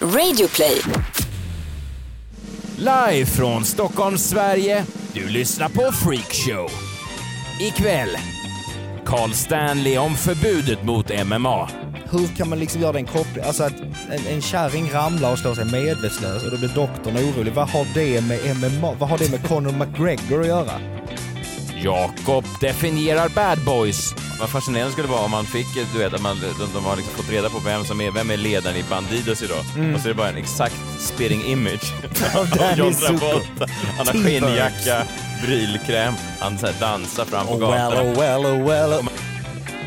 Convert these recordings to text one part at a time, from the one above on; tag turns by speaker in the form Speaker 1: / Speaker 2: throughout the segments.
Speaker 1: Radioplay.
Speaker 2: Live från Stockholm, Sverige. Du lyssnar på Freakshow. Ikväll, Carl Stanley om förbudet mot MMA.
Speaker 3: Hur kan man liksom göra den kopplingen? Alltså att en, en kärring ramlar och slår sig medvetslös och då blir doktorn orolig. Vad har det med MMA, vad har det med Conor McGregor att göra?
Speaker 2: Jakob definierar bad boys.
Speaker 4: Vad fascinerande skulle det vara om man fick, eh, du vet, att man, de, de har liksom fått reda på vem som är, vem är ledaren i Bandidos idag.
Speaker 2: Mm.
Speaker 4: Och så är det bara en exakt spitting image av
Speaker 3: Danny
Speaker 4: John
Speaker 3: Zuko.
Speaker 4: Travolta. Han har skinnjacka, brylkräm, han så här dansar fram på gatan.
Speaker 3: well, oh well.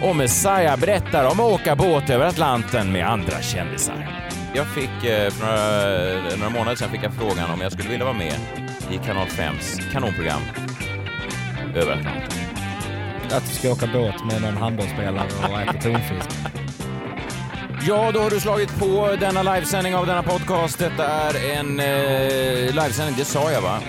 Speaker 2: Och Messiah berättar om att åka båt över Atlanten med andra kändisar.
Speaker 4: Jag fick, eh, för några, några månader sedan fick jag frågan om jag skulle vilja vara med i Kanal 5s kanonprogram Över Atlanten.
Speaker 3: Att du ska åka båt med någon handbollsspelare och äta tonfisk.
Speaker 2: Ja, då har du slagit på denna livesändning av denna podcast. Detta är en eh, livesändning, det sa jag va?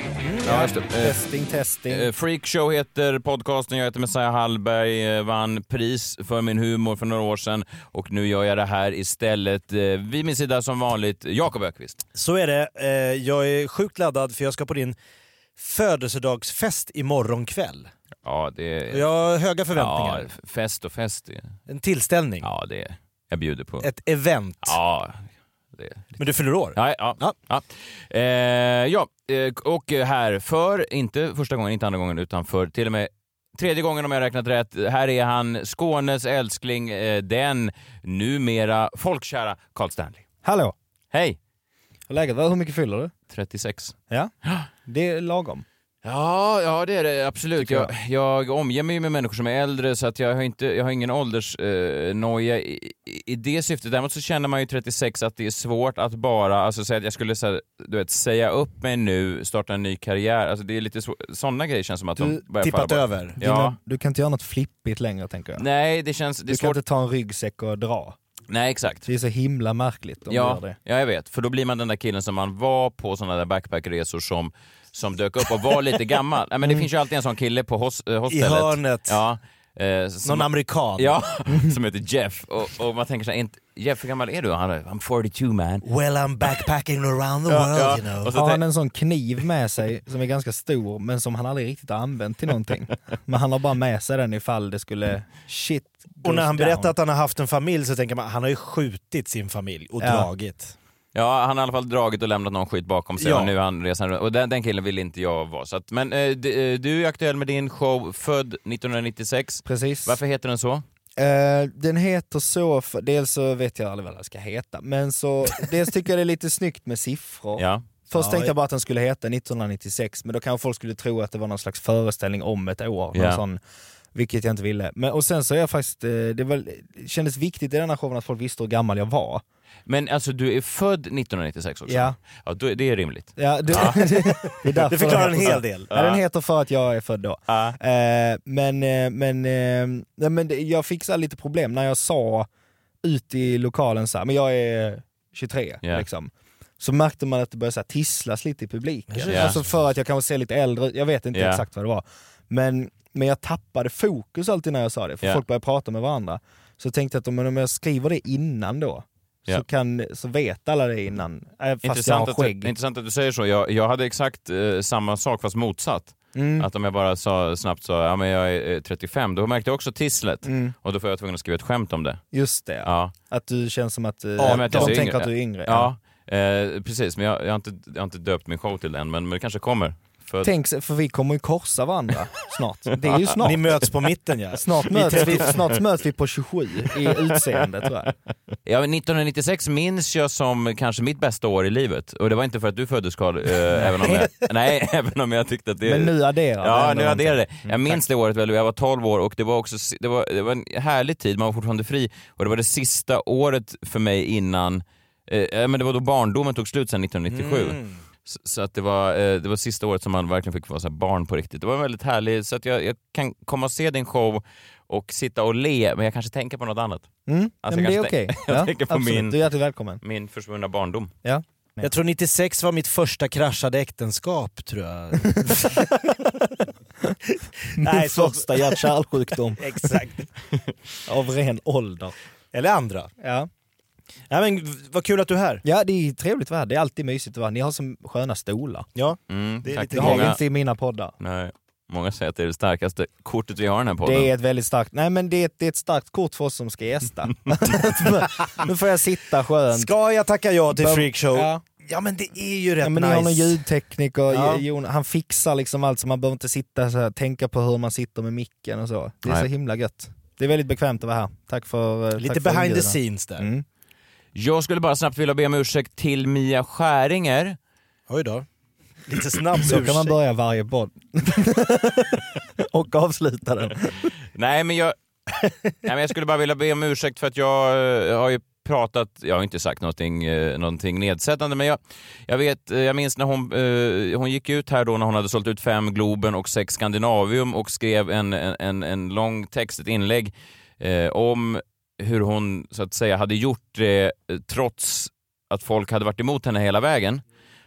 Speaker 2: ja, just det. Eh,
Speaker 3: Testing, testing.
Speaker 4: Eh, Freakshow heter podcasten, jag heter Messiah Hallberg, eh, vann pris för min humor för några år sedan och nu gör jag det här istället. Eh, Vid min sida som vanligt, Jakob Ökvist.
Speaker 5: Så är det. Eh, Jag är sjukt laddad för jag ska på din födelsedagsfest imorgon kväll.
Speaker 4: Ja, det
Speaker 5: Och Jag har höga
Speaker 4: ja,
Speaker 5: förväntningar.
Speaker 4: fest och fest. det-
Speaker 5: En tillställning.
Speaker 4: Ja, det jag bjuder på.
Speaker 5: Ett event.
Speaker 4: Ja, det.
Speaker 5: Men du fyller år.
Speaker 4: Ja, ja, ja.
Speaker 5: Ja.
Speaker 4: ja. Eh, ja. eh, och här för, inte första gången, inte andra gången, utan för till och med tredje gången om jag räknat rätt. Här är han, Skånes älskling, eh, den numera folkkära Carl Stanley.
Speaker 3: Hallå!
Speaker 4: Hej!
Speaker 3: Hur är läget? Vad- Hur mycket fyller du?
Speaker 4: 36.
Speaker 3: Ja, det är lagom.
Speaker 4: Ja, ja det är det absolut. Jag, jag omger mig ju med människor som är äldre så att jag har, inte, jag har ingen åldersnoja eh, noja i, i- i det syftet. Däremot så känner man ju 36 att det är svårt att bara, alltså säga att jag skulle så här, du vet, säga upp mig nu, starta en ny karriär. Alltså det är lite sådana grejer känns som att
Speaker 5: Du
Speaker 4: de börjar falla
Speaker 5: tippat
Speaker 4: bort.
Speaker 5: över.
Speaker 4: Ja.
Speaker 3: Du kan inte göra något flippigt längre tänker jag.
Speaker 4: Nej, det känns... Det
Speaker 3: du
Speaker 4: är
Speaker 3: kan
Speaker 4: svårt.
Speaker 3: inte ta en ryggsäck och dra.
Speaker 4: Nej, exakt.
Speaker 3: Det är så himla märkligt om
Speaker 4: Ja,
Speaker 3: du gör det.
Speaker 4: ja, jag vet. För då blir man den där killen som man var på sådana där backpackresor som, som dök upp och var lite gammal. Nej, men
Speaker 3: Mm.
Speaker 4: det finns ju alltid en sån kille på hos, eh, hostellet.
Speaker 5: hörnet.
Speaker 4: Ja. Eh, som,
Speaker 5: Någon amerikan.
Speaker 4: Ja, som heter Jeff. Och, och man tänker så här, inte, Jeff hur gammal är du? Han är, I'm 42 man.
Speaker 5: Well I'm backpacking around the world
Speaker 4: ja.
Speaker 5: you know.
Speaker 4: Och så
Speaker 3: Har
Speaker 4: tänk-
Speaker 3: han en sån kniv med sig som är ganska stor men som han aldrig riktigt har använt till någonting. Men han har bara med sig den ifall det skulle shit
Speaker 5: Och när
Speaker 3: goes
Speaker 5: han
Speaker 3: down.
Speaker 5: berättar att han har haft en familj så tänker man han har ju skjutit sin familj och
Speaker 3: Ja.
Speaker 5: dragit.
Speaker 4: Ja, han har i alla fall dragit och lämnat någon skit bakom sig
Speaker 5: Ja.
Speaker 4: och nu är han resan runt. Och den, den killen vill inte jag vara. Så att, men eh, d- eh, du är aktuell med din show Född 1996.
Speaker 3: Precis.
Speaker 4: Varför heter den så?
Speaker 3: Eh, den heter så, för, dels så vet jag aldrig vad den ska heta, men så dels tycker jag det är lite snyggt med siffror.
Speaker 4: Ja.
Speaker 3: Först
Speaker 5: Ja,
Speaker 3: tänkte
Speaker 5: ja.
Speaker 3: jag bara att den skulle heta 1996, men då kanske folk skulle tro att det var någon slags föreställning om ett år. någon
Speaker 4: Ja.
Speaker 3: Sån, vilket jag inte ville. Men, och sen så är jag faktiskt, eh, det var, det kändes viktigt i den här showen att folk visste hur gammal jag var.
Speaker 4: Men alltså du är född 1996 också?
Speaker 3: Ja.
Speaker 4: ja då, är- det är rimligt.
Speaker 3: Ja, det, det, är därför
Speaker 5: Det förklarar
Speaker 3: den
Speaker 5: en
Speaker 3: heter så.
Speaker 5: hel del.
Speaker 3: Ja, den heter för att jag är född då. Eh, men eh, men, eh, nej, men det, jag fick så här lite problem när jag sa ut i lokalen så här, men jag är 23
Speaker 4: Ja.
Speaker 3: liksom. Så märkte man att det började så här, tisslas lite i publiken.
Speaker 4: Ja.
Speaker 3: Alltså för att jag kanske ser lite äldre ut, jag vet inte
Speaker 4: Ja.
Speaker 3: exakt vad det var. Men, men jag tappade fokus alltid när jag sa det, för
Speaker 4: Ja.
Speaker 3: folk började prata med varandra. Så jag tänkte att om, om jag skriver det innan då,
Speaker 4: Ja.
Speaker 3: så, kan, så vet alla det innan. eh, Fast
Speaker 4: Intressant
Speaker 3: jag
Speaker 4: att,
Speaker 3: har
Speaker 4: du,
Speaker 3: skägg.
Speaker 4: intressant att du säger så. Jag, jag hade exakt eh, samma sak fast motsatt.
Speaker 3: Mm.
Speaker 4: Att om jag bara sa, snabbt sa ja, men jag är eh, 35, då märkte jag också tisslet.
Speaker 3: Mm.
Speaker 4: Och då var jag tvungen att skriva ett skämt om det.
Speaker 3: Just det.
Speaker 4: Ja.
Speaker 3: Att du känns som att eh,
Speaker 4: Ja, men
Speaker 3: de
Speaker 4: att jag ser
Speaker 3: tänker
Speaker 4: yngre.
Speaker 3: att du är yngre.
Speaker 4: Ja, eh, precis. Men jag, jag, har inte, jag har inte döpt min show till den, men, men det kanske kommer. För,
Speaker 3: Tänk, sig- för vi kommer ju korsa varandra snart. Det är ju snart.
Speaker 5: Ni möts på mitten ja.
Speaker 3: Snart möts, vi, snart möts vi på 27 i utseende tror jag.
Speaker 4: ja, 1996 minns jag som kanske mitt bästa år i livet. Och det var inte för att du föddes Carl, eh, även, om jag, nej, även om jag tyckte att det...
Speaker 3: Men nu adderar vi
Speaker 4: Ja,
Speaker 3: ändå
Speaker 4: nu hade jag det.
Speaker 3: någonting.
Speaker 4: Jag minns det året väl, jag var 12 år och det var också si- det var, det var en härlig tid, man var fortfarande fri och det var det sista året för mig innan, eh, ja, men det var då barndomen tog slut sen 1997. Så, så att det var, eh, det var sista året som man verkligen fick vara så här barn på riktigt. Det var väldigt härligt, så att jag, jag kan komma och se din show och sitta och le, men jag kanske tänker på något annat.
Speaker 3: Mm.
Speaker 4: Alltså,
Speaker 3: men det är
Speaker 4: jag
Speaker 3: okej.
Speaker 4: kanske tänk- jag tänker på
Speaker 3: absolut.
Speaker 4: min-
Speaker 3: Du är hjärtligt välkommen.
Speaker 4: Min försvunna barndom.
Speaker 3: Ja.
Speaker 5: Jag tror 96 var mitt första kraschade äktenskap tror jag.
Speaker 3: Min
Speaker 5: Nej, så-
Speaker 3: första hjärt-kärlsjukdom
Speaker 5: Exakt.
Speaker 3: av ren ålder.
Speaker 5: Eller andra.
Speaker 3: Ja.
Speaker 5: Nej, men v- vad kul att du är här.
Speaker 3: Ja, det är trevligt att vara här. Det är alltid mysigt att vara här. Ni har så sköna stolar.
Speaker 5: Ja.
Speaker 4: Mm,
Speaker 5: Det är
Speaker 4: tack.
Speaker 5: lite
Speaker 3: Det har vi
Speaker 4: många,
Speaker 3: inte i mina poddar.
Speaker 4: nej, många säger att det är det starkaste kortet vi har i den här podden.
Speaker 3: Det är ett väldigt starkt, nej men det är ett, det är ett starkt kort för oss som ska gästa. nu får jag sitta skönt.
Speaker 5: Ska jag tacka ja till
Speaker 3: Bum.
Speaker 5: freakshow? Ja.
Speaker 3: Ja.
Speaker 5: men det är ju rätt
Speaker 3: Ja, men ni
Speaker 5: nice.
Speaker 3: har någon ljudtekniker,
Speaker 5: Ja.
Speaker 3: Jon, han fixar liksom allt så man behöver inte sitta så här, tänka på hur man sitter med micken och så. Det är
Speaker 4: Nej.
Speaker 3: så himla gött. Det är väldigt bekvämt att vara här. Tack för eh,
Speaker 5: Lite
Speaker 3: tack för
Speaker 5: behind the
Speaker 3: inbjudan.
Speaker 5: scenes där.
Speaker 3: Mm.
Speaker 4: Jag skulle bara snabbt vilja be om ursäkt till Mia Skäringer.
Speaker 5: Oj då. Lite snabb
Speaker 3: Så kan man
Speaker 5: ursäkt.
Speaker 3: börja varje podd. och avsluta den.
Speaker 4: Nej men jag... Nej, men jag skulle bara vilja be om ursäkt för att jag eh, har ju pratat, jag har inte sagt någonting, eh, någonting nedsättande men jag, jag vet, eh, jag minns när hon, eh, hon gick ut här då när hon hade sålt ut fem Globen och sex Skandinavium och skrev en, en, en, en lång text, ett inlägg eh, om hur hon så att säga hade gjort det eh, trots att folk hade varit emot henne hela vägen.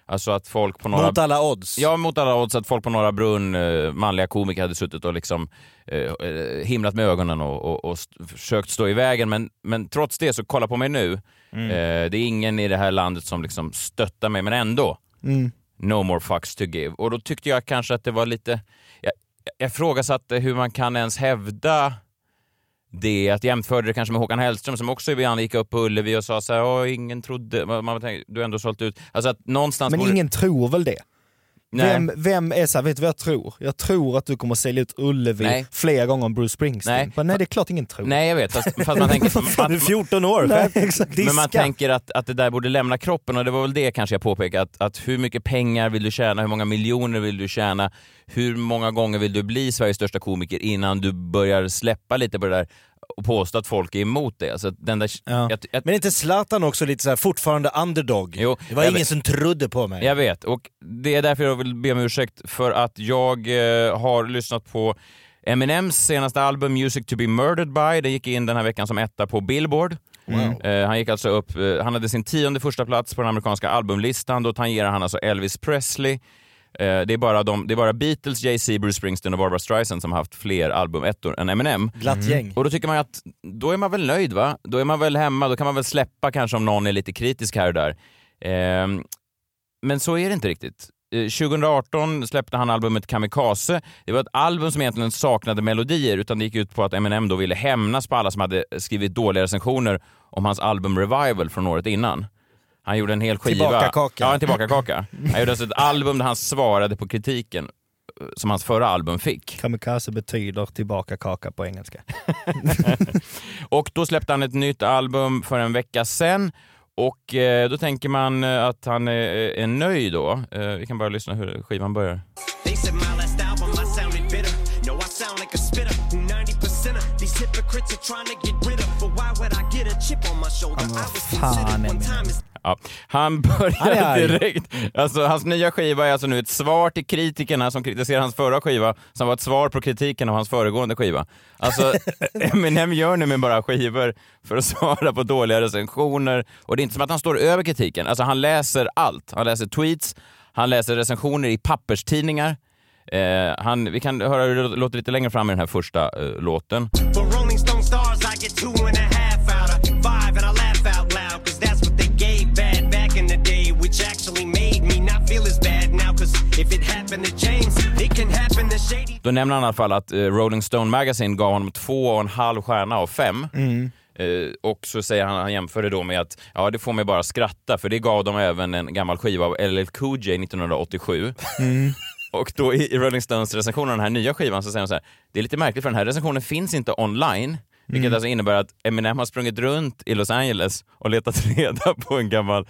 Speaker 4: Alltså att folk på några...
Speaker 5: Mot alla odds.
Speaker 4: Ja, mot alla odds att folk på Norra Brunn, eh, manliga komiker, hade suttit och liksom eh, eh, himlat med ögonen och, och, och st- försökt stå i vägen. Men, men trots det så kolla på mig nu.
Speaker 3: Mm.
Speaker 4: Eh, det är ingen i det här landet som liksom stöttar mig, men ändå.
Speaker 3: Mm.
Speaker 4: No more fucks to give. Och då tyckte jag kanske att det var lite... Jag, jag ifrågasatte hur man kan ens hävda det. Att jag jämförde det kanske med Håkan Hellström som också ibland gick upp på Ullevi och sa så här, "Åh, ingen trodde... Man, man tänkte, du har ändå sålt ut... Alltså att någonstans...
Speaker 3: Men
Speaker 4: borde-
Speaker 3: ingen tror väl det?
Speaker 4: Nej.
Speaker 3: Vem, vem är såhär, vet du vad jag tror? Jag tror att du kommer sälja ut Ullevi
Speaker 4: Nej.
Speaker 3: fler gånger än Bruce Springsteen.
Speaker 4: Nej.
Speaker 3: Nej, nej det är klart ingen tror.
Speaker 4: Nej, jag vet. Fast, fast man tänker...
Speaker 5: Du är 14 år.
Speaker 3: Nej, exakt.
Speaker 4: Men man tänker att, att det där borde lämna kroppen och det var väl det kanske jag påpekade. Att, att hur mycket pengar vill du tjäna? Hur många miljoner vill du tjäna? Hur många gånger vill du bli Sveriges största komiker innan du börjar släppa lite på det där och påstå att folk är emot det? Alltså, den där,
Speaker 3: Ja.
Speaker 4: jag, jag,
Speaker 5: Men är inte Zlatan också lite så här fortfarande underdog?
Speaker 4: Jo,
Speaker 5: det var
Speaker 4: jag
Speaker 5: ingen
Speaker 4: vet.
Speaker 5: som trodde på mig.
Speaker 4: jag vet, och det är därför jag vill be om ursäkt för att jag eh, har lyssnat på Eminems senaste album Music to be murdered by. Det gick in den här veckan som etta på Billboard. Eh, han gick alltså upp, eh, han hade sin tionde första plats på den amerikanska albumlistan. Då tangerar han alltså Elvis Presley. Eh, det, är bara de, det är bara Beatles, Jay-Z, Bruce Springsteen och Barbra Streisand som har haft fler albumettor än Eminem.
Speaker 5: Glatt
Speaker 3: Mm.
Speaker 5: gäng.
Speaker 4: Och då tycker man ju att, då är man väl nöjd va? Då är man väl hemma, då kan man väl släppa kanske om någon är lite kritisk här och där. Ehm, men så är det inte riktigt. Eh, 2018 släppte han albumet Kamikaze. Det var ett album som egentligen saknade melodier utan det gick ut på att Eminem då ville hämnas på alla som hade skrivit dåliga recensioner om hans album Revival från året innan. Han gjorde en hel skiva.
Speaker 5: Tillbakakaka.
Speaker 4: Ja, en tillbakakaka. Han gjorde alltså ett album där han svarade på kritiken eh, som hans förra album fick.
Speaker 3: Kamikaze betyder tillbaka kaka på engelska.
Speaker 4: Och då släppte han ett nytt album för en vecka sen. Och eh, då tänker man eh, att han är, är nöjd då. Eh, vi kan bara lyssna hur skivan börjar.
Speaker 1: They said my last album, I sounded bitter. No, I sound like a spitter who 90% of these hypocrites are trying to get rid of. But why would I get a chip on my shoulder? I was
Speaker 3: fan,
Speaker 1: considered one
Speaker 3: Eminem.
Speaker 1: time as
Speaker 4: Ja, han
Speaker 3: Han är
Speaker 4: börjar
Speaker 3: arg.
Speaker 4: direkt. Alltså, hans nya skiva är alltså nu ett svar till kritikerna som kritiserar hans förra skiva som var ett svar på kritiken av hans föregående skiva. Alltså, Eminem gör nu med bara skivor för att svara på dåliga recensioner. Och det är inte som att han står över kritiken. Alltså, han läser allt. Han läser tweets, han läser recensioner i papperstidningar. Eh, han, vi kan höra hur det låter lite längre fram i den här första eh, låten.
Speaker 1: For Rolling Stone stars, I get two and a half out of five, and I laugh out loud, cause that's what they gave bad back in the day, which actually made me not feel as bad now, cause if it happened to James, it can happen to Shady.
Speaker 4: Då nämner han i alla fall att eh, Rolling Stone Magazine gav honom två och en halv stjärna av fem. Eh, och så säger han, han jämför det då med att ja, det får mig bara skratta för det gav dem även en gammal skiva av LL Cool J 1987. Mm. Och då i, i Rolling Stones recension av den här nya skivan så säger han så här, det är lite märkligt för den här recensionen finns inte online. Vilket alltså innebär att Eminem har sprungit runt i Los Angeles och letat reda på en gammal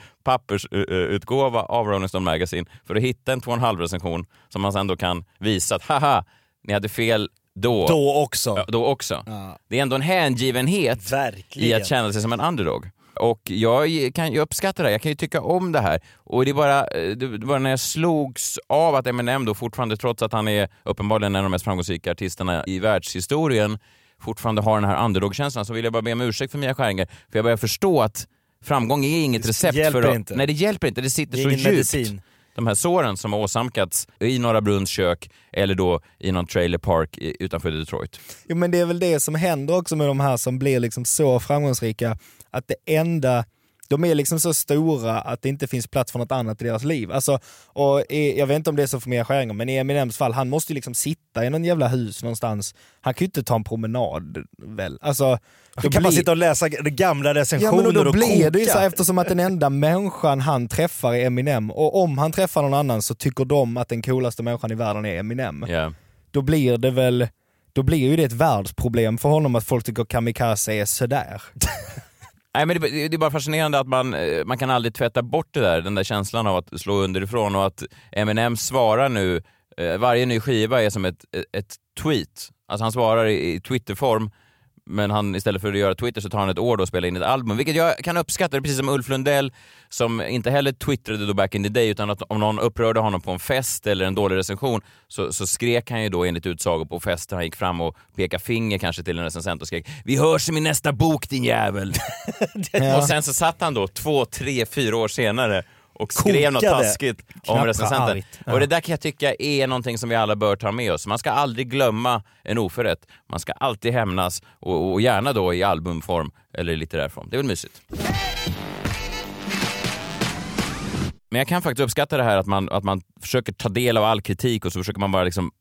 Speaker 4: pappersutgåva av Rolling Stone Magazine för att hitta en 2,5 recension som han sen då kan visa att haha, ni hade fel då,
Speaker 5: Då också.
Speaker 4: Ja, då också. Det är ändå en hängivenhet i
Speaker 5: Verkligen.
Speaker 4: att känna sig som en underdog. Och jag kan ju uppskatta det här, jag kan ju tycka om det här. Och det är bara, eh, det det var när jag slogs av att Eminem då fortfarande, trots att han är uppenbarligen en av de mest framgångsrika artisterna i världshistorien, fortfarande har den här underdog-känslan så vill jag bara be om ursäkt för Mia Skäringer, för jag börjar förstå att framgång är inget recept
Speaker 5: hjälper
Speaker 4: för att...
Speaker 5: inte.
Speaker 4: Nej, det hjälper inte. Det sitter
Speaker 5: Det är
Speaker 4: så
Speaker 5: ingen
Speaker 4: djupt.
Speaker 5: medicin.
Speaker 4: De här såren som har åsamkats i Norra Brunns kök eller då i någon trailer park i- utanför Detroit.
Speaker 3: Jo men det är väl det som händer också med de här som blir liksom så framgångsrika, att det enda De är liksom så stora att det inte finns plats för något annat i deras liv. Alltså, och i, jag vet inte om det är så för Mia Skäringer, men i Eminems fall, han måste ju liksom sitta i någon jävla hus någonstans. Han kan ju inte ta en promenad väl? Alltså,
Speaker 5: Då kan man sitta och läsa g- gamla
Speaker 3: Ja,
Speaker 5: recensioner
Speaker 3: men och då
Speaker 5: och
Speaker 3: blir
Speaker 5: koka.
Speaker 3: det ju så här, eftersom att den enda människan han träffar är Eminem och om han träffar någon annan så tycker de att den coolaste människan i världen är Eminem.
Speaker 4: Ja.
Speaker 3: Då blir det väl, då blir ju det ett världsproblem för honom att folk tycker kamikaze är sådär.
Speaker 4: Nej, men det, det är bara fascinerande att man, eh, man kan aldrig tvätta bort det där, den där känslan av att slå underifrån och att Eminem svarar nu, eh, varje ny skiva är som ett, eh, ett tweet. Alltså han svarar i, i Twitterform, men han, istället för att göra Twitter så tar han ett år då och spelar in ett album, vilket jag kan uppskatta. Det är precis som Ulf Lundell som inte heller twittrade då back in the day, utan att om någon upprörde honom på en fest eller en dålig recension så, så skrek han ju då enligt utsago på festen, han gick fram och pekade finger kanske till en recensent och skrek “Vi hörs i min nästa bok din jävel!” Och sen så satt han då två, tre, fyra år senare och skrev något
Speaker 5: Kokade.
Speaker 4: taskigt om
Speaker 3: Knappt
Speaker 4: recensenten.
Speaker 3: argt.
Speaker 4: Och det där kan jag tycka är någonting som vi alla bör ta med oss. Man ska aldrig glömma en oförrätt. Man ska alltid hämnas och, och gärna då i albumform eller i litterär form. Det är väl mysigt. Men jag kan faktiskt uppskatta det här att man, att man försöker ta del av all kritik och så försöker man bara liksom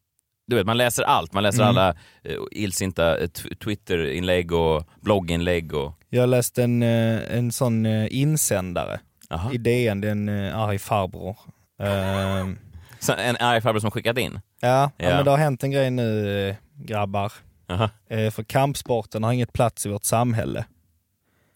Speaker 4: du vet, man läser allt. Man läser alla eh, illsinta eh, tw- Twitter-inlägg och blogginlägg och...
Speaker 3: Jag läste en, eh, en sån eh, insändare
Speaker 4: Aha.
Speaker 3: i DN, det är en eh, arg farbror. Ehm,
Speaker 4: Så En arg farbror som skickat in?
Speaker 3: ja, ja.
Speaker 4: Ja.
Speaker 3: men det har hänt en grej nu eh, grabbar.
Speaker 4: Aha.
Speaker 3: Eh, för kampsporten har inget plats i vårt samhälle.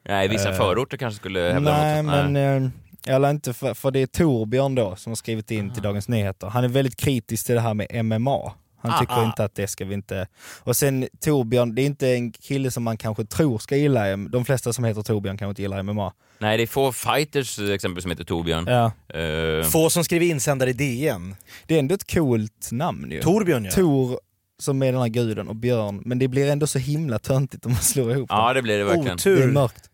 Speaker 4: Nej, vissa
Speaker 3: Eh,
Speaker 4: förorter kanske skulle hävda
Speaker 3: Nej,
Speaker 4: något.
Speaker 3: men eh, eller inte för, för det är Torbjörn då som har skrivit in till Dagens Nyheter. Han är väldigt kritisk till det här med MMA. Han tycker inte att det ska vi inte... Och sen Torbjörn, det är inte en kille som man kanske tror ska gilla, de flesta som heter Torbjörn kanske inte gillar MMA.
Speaker 4: Nej, det är få fighters eh, exempel som heter Torbjörn.
Speaker 3: Ja.
Speaker 4: Eh,
Speaker 5: Få som skriver insändare i DN.
Speaker 3: Det är ändå ett coolt namn ju.
Speaker 5: Torbjörn ja.
Speaker 3: Tor som är den här guden och Björn, men det blir ändå så himla töntigt om man slår ihop dem.
Speaker 4: ja, det blir det verkligen.
Speaker 3: Det är
Speaker 5: Otur.
Speaker 3: mörkt.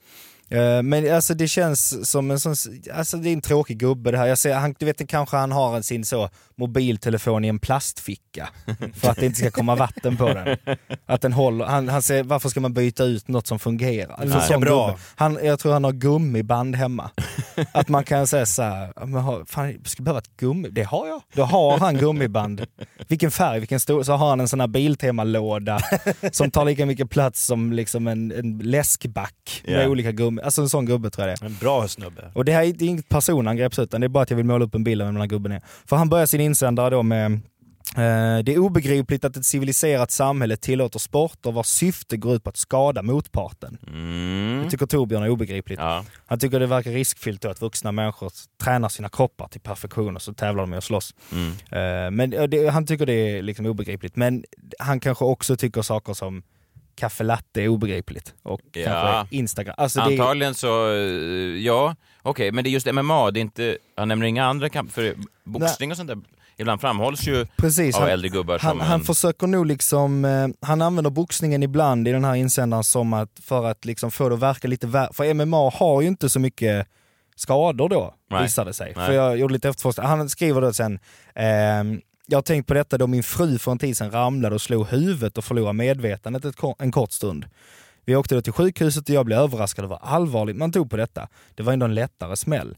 Speaker 3: Eh, Men alltså det känns som en sån, alltså det är en tråkig gubbe det här. Jag ser, han, du vet kanske han har sin så mobiltelefon i en plastficka för att det inte ska komma vatten på den. Att den håller, han, han säger varför ska man byta ut något som fungerar? Alltså,
Speaker 5: Nej.
Speaker 3: sån
Speaker 5: Bra.
Speaker 3: gubbe. Han, jag tror han har gummiband hemma. Att man kan säga såhär, men har, fan, jag skulle behöva ett gummi, det har jag. Då har han gummiband. Vilken färg, vilken stor, så har han en sån här Biltema-låda som tar lika mycket plats som liksom en, en läskback
Speaker 4: Ja.
Speaker 3: med olika gummi. Alltså en sån gubbe tror jag det är.
Speaker 5: En bra snubbe.
Speaker 3: Och det här är inget personangrepp utan det är bara att jag vill måla upp en bild av vem den här gubben är. För han börjar sin insändare då med eh, det är obegripligt att ett civiliserat samhälle tillåter sporter vars syfte går ut på att skada motparten.
Speaker 4: Mm.
Speaker 3: Det tycker Torbjörn är obegripligt.
Speaker 4: Ja.
Speaker 3: Han tycker det verkar riskfyllt då att vuxna människor tränar sina kroppar till perfektion och så tävlar de i att slåss.
Speaker 4: Mm.
Speaker 3: Eh, Men eh, det, han tycker det är liksom obegripligt. Men han kanske också tycker saker som kaffe latte är obegripligt och
Speaker 4: Ja.
Speaker 3: kanske Instagram. Alltså det, är-
Speaker 4: Antagligen så, eh, ja. Okej, men det är just MMA, det är inte, han nämner inga andra kamp för boxning och sånt där. Ibland framhålls ju
Speaker 3: precis,
Speaker 4: av
Speaker 3: han,
Speaker 4: äldre gubbar
Speaker 3: han,
Speaker 4: som
Speaker 3: han
Speaker 4: en-
Speaker 3: försöker nog liksom, eh, han använder boxningen ibland i den här insändaren som att, för att liksom få det att verka lite värre. För MMA har ju inte så mycket skador då,
Speaker 4: Nej.
Speaker 3: visade det sig.
Speaker 4: Nej.
Speaker 3: För jag gjorde lite efterforskning. Han skriver då sen, ehm, jag har tänkt på detta då min fru för en tid sedan ramlade och slog huvudet och förlorade medvetandet ett, ko- en kort stund. Vi åkte då till sjukhuset och jag blev överraskad över hur allvarligt man tog på detta. Det var ändå en lättare smäll.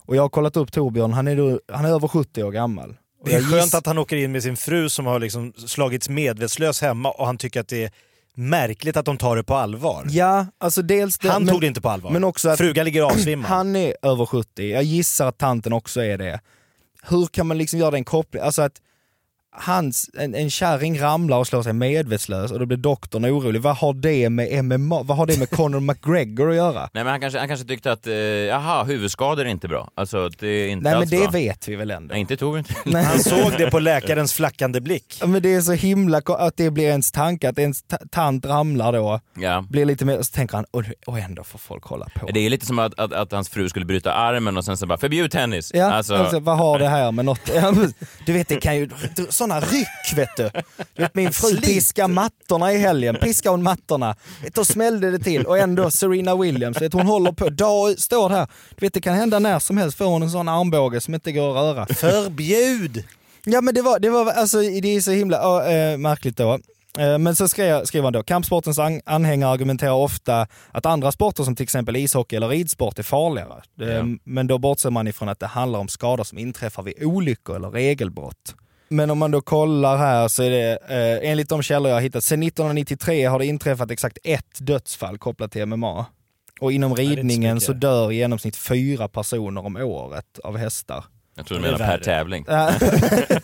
Speaker 3: Och jag har kollat upp Torbjörn, han är, då, han är över 70 år gammal. Och
Speaker 5: Det är
Speaker 3: jag
Speaker 5: skönt
Speaker 3: giss-
Speaker 5: att han åker in med sin fru som har liksom slagits medvetslös hemma och han tycker att det är märkligt att de tar det på allvar.
Speaker 3: Ja, alltså dels det,
Speaker 5: Han
Speaker 3: men,
Speaker 5: tog det inte på allvar.
Speaker 3: men också att-
Speaker 5: Frugan ligger avsvimmad.
Speaker 3: Han är över 70, jag gissar att tanten också är det. Hur kan man liksom göra den kopplingen? Alltså att hans, en, en kärring ramlar och slår sig medvetslös och då blir doktorn orolig. Vad har det med MMA, vad har det med Conor McGregor att göra?
Speaker 4: Nej, men han kanske, han kanske tyckte att, eh, jaha, huvudskador är inte bra. Alltså, det är inte
Speaker 3: Nej men
Speaker 4: alls
Speaker 3: det
Speaker 4: bra.
Speaker 3: vet vi väl ändå.
Speaker 4: Nej, inte Torbjörn.
Speaker 3: Nej.
Speaker 5: Han såg det på läkarens flackande blick.
Speaker 3: Ja, Men det är så himla ko- att det blir ens tanke att ens ta- tant ramlar då,
Speaker 4: ja.
Speaker 3: blir lite mer, och så tänker han och, och ändå får folk hålla på.
Speaker 4: Det är lite som att, att, att hans fru skulle bryta armen och sen så bara förbjud tennis.
Speaker 3: Ja, alltså, vad har det här med något... Ja, men, Du vet, det kan ju... Sådana ryck vet du. du vet, min fru piskade mattorna i helgen, piskade hon mattorna. Vet, Då smällde det till och ändå Serena Williams, vet, hon håller på, dag ut, står här. Du vet, det kan hända när som helst, får hon en sån armbåge som inte går att röra.
Speaker 5: Förbjud!
Speaker 3: Ja men det var, det var alltså det är så himla ja, eh, märkligt då. Eh, Men så skrev, skrev han då, kampsportens an- anhängare argumenterar ofta att andra sporter som till exempel ishockey eller ridsport är farligare. Eh,
Speaker 4: Ja.
Speaker 3: Men då bortser man ifrån att det handlar om skador som inträffar vid olyckor eller regelbrott. Men om man då kollar här så är det, eh, enligt de källor jag har hittat, sedan 1993 har det inträffat exakt ett dödsfall kopplat till MMA. Och inom
Speaker 5: är inte så
Speaker 3: ridningen
Speaker 5: mycket.
Speaker 3: så dör i genomsnitt fyra personer om året av hästar.
Speaker 4: Jag tror du
Speaker 5: Det är
Speaker 4: menar per
Speaker 5: värre.
Speaker 4: tävling.
Speaker 3: Eh,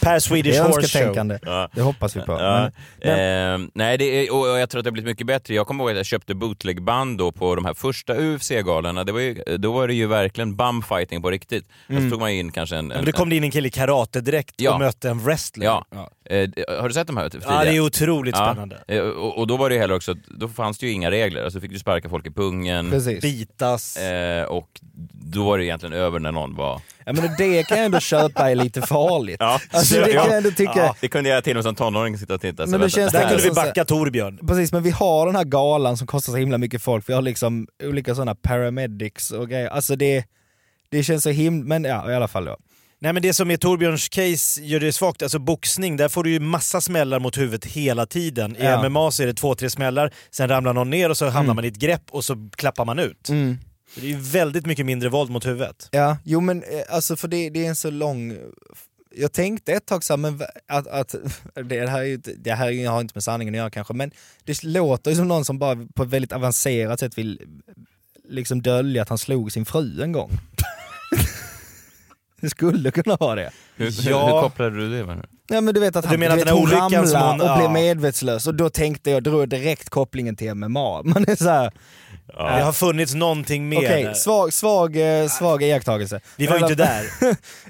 Speaker 5: Per
Speaker 3: det
Speaker 5: Swedish
Speaker 3: är
Speaker 5: Horse Show.
Speaker 3: önsketänkande.
Speaker 4: Ja.
Speaker 3: Det hoppas vi på.
Speaker 4: Ja.
Speaker 3: Men,
Speaker 4: Ehm, nej, det är, och och jag tror att det har blivit mycket bättre. Jag kommer ihåg att jag köpte bootlegband då på de här första UFC-galorna. Det var ju, då var det ju verkligen bumfighting på riktigt. Och så tog man in kanske en...
Speaker 5: Men
Speaker 4: en
Speaker 5: det kom det in en kille i karatedräkt
Speaker 4: Ja.
Speaker 5: och mötte en wrestler.
Speaker 4: ja. Eh, d- har du sett de här typ,
Speaker 5: Ja, det är
Speaker 4: tidiga?
Speaker 5: otroligt
Speaker 4: Ja.
Speaker 5: spännande.
Speaker 4: Eh, och, och då var det ju heller också, att- då fanns det ju inga regler. Alltså fick du sparka folk i pungen.
Speaker 3: precis.
Speaker 5: Bitas.
Speaker 4: Eh, och då var det egentligen över när någon var...
Speaker 3: Ja men det kan jag ändå köpa är lite farligt.
Speaker 4: Ja,
Speaker 3: alltså, det kan jag ändå tycka.
Speaker 4: Ja, det kunde jag till och med som tonåring sitta och titta. Så
Speaker 3: Men det
Speaker 4: vänta,
Speaker 3: känns-
Speaker 4: här-
Speaker 5: Där kunde vi
Speaker 3: så-
Speaker 5: backa Torbjörn.
Speaker 3: Precis, men vi har den här galan som kostar så himla mycket folk. Vi har liksom olika sådana paramedics och grejer. Alltså det, det känns så himla... Men ja, i alla fall då.
Speaker 5: Nej men det som är Torbjörns case gör det svagt, alltså boxning, där får du ju massa smällar mot huvudet hela tiden. I
Speaker 3: Ja. Mm.
Speaker 5: MMA så är det två, tre smällar, sen ramlar någon ner och så hamnar man i ett grepp och så klappar man ut. Så Det är ju väldigt mycket mindre våld mot huvudet.
Speaker 3: Ja, jo men eh, alltså för det, det är en så lång... Jag tänkte ett tag så här, men va- att, att det här, är ju, inte- det här är ju- har inte med sanningen att göra kanske, men det låter ju som någon som bara på ett väldigt avancerat sätt vill liksom dölja att han slog sin fru en gång. det skulle kunna vara det.
Speaker 4: Hur, hur,
Speaker 5: Ja.
Speaker 4: hur kopplade du det med nu?
Speaker 3: Ja, men du vet att han,
Speaker 5: menar
Speaker 3: du
Speaker 5: att
Speaker 3: vet,
Speaker 5: den här
Speaker 3: hon
Speaker 5: olyckan som
Speaker 3: ramlar
Speaker 5: hon-
Speaker 3: och
Speaker 5: ja.
Speaker 3: blir medvetslös och då tänkte jag, drog jag direkt kopplingen till MMA. Man är såhär,
Speaker 5: Det har funnits någonting mer.
Speaker 3: okej,
Speaker 5: där.
Speaker 3: svag, svag, eh, svag iakttagelse.
Speaker 5: Vi var ju inte där.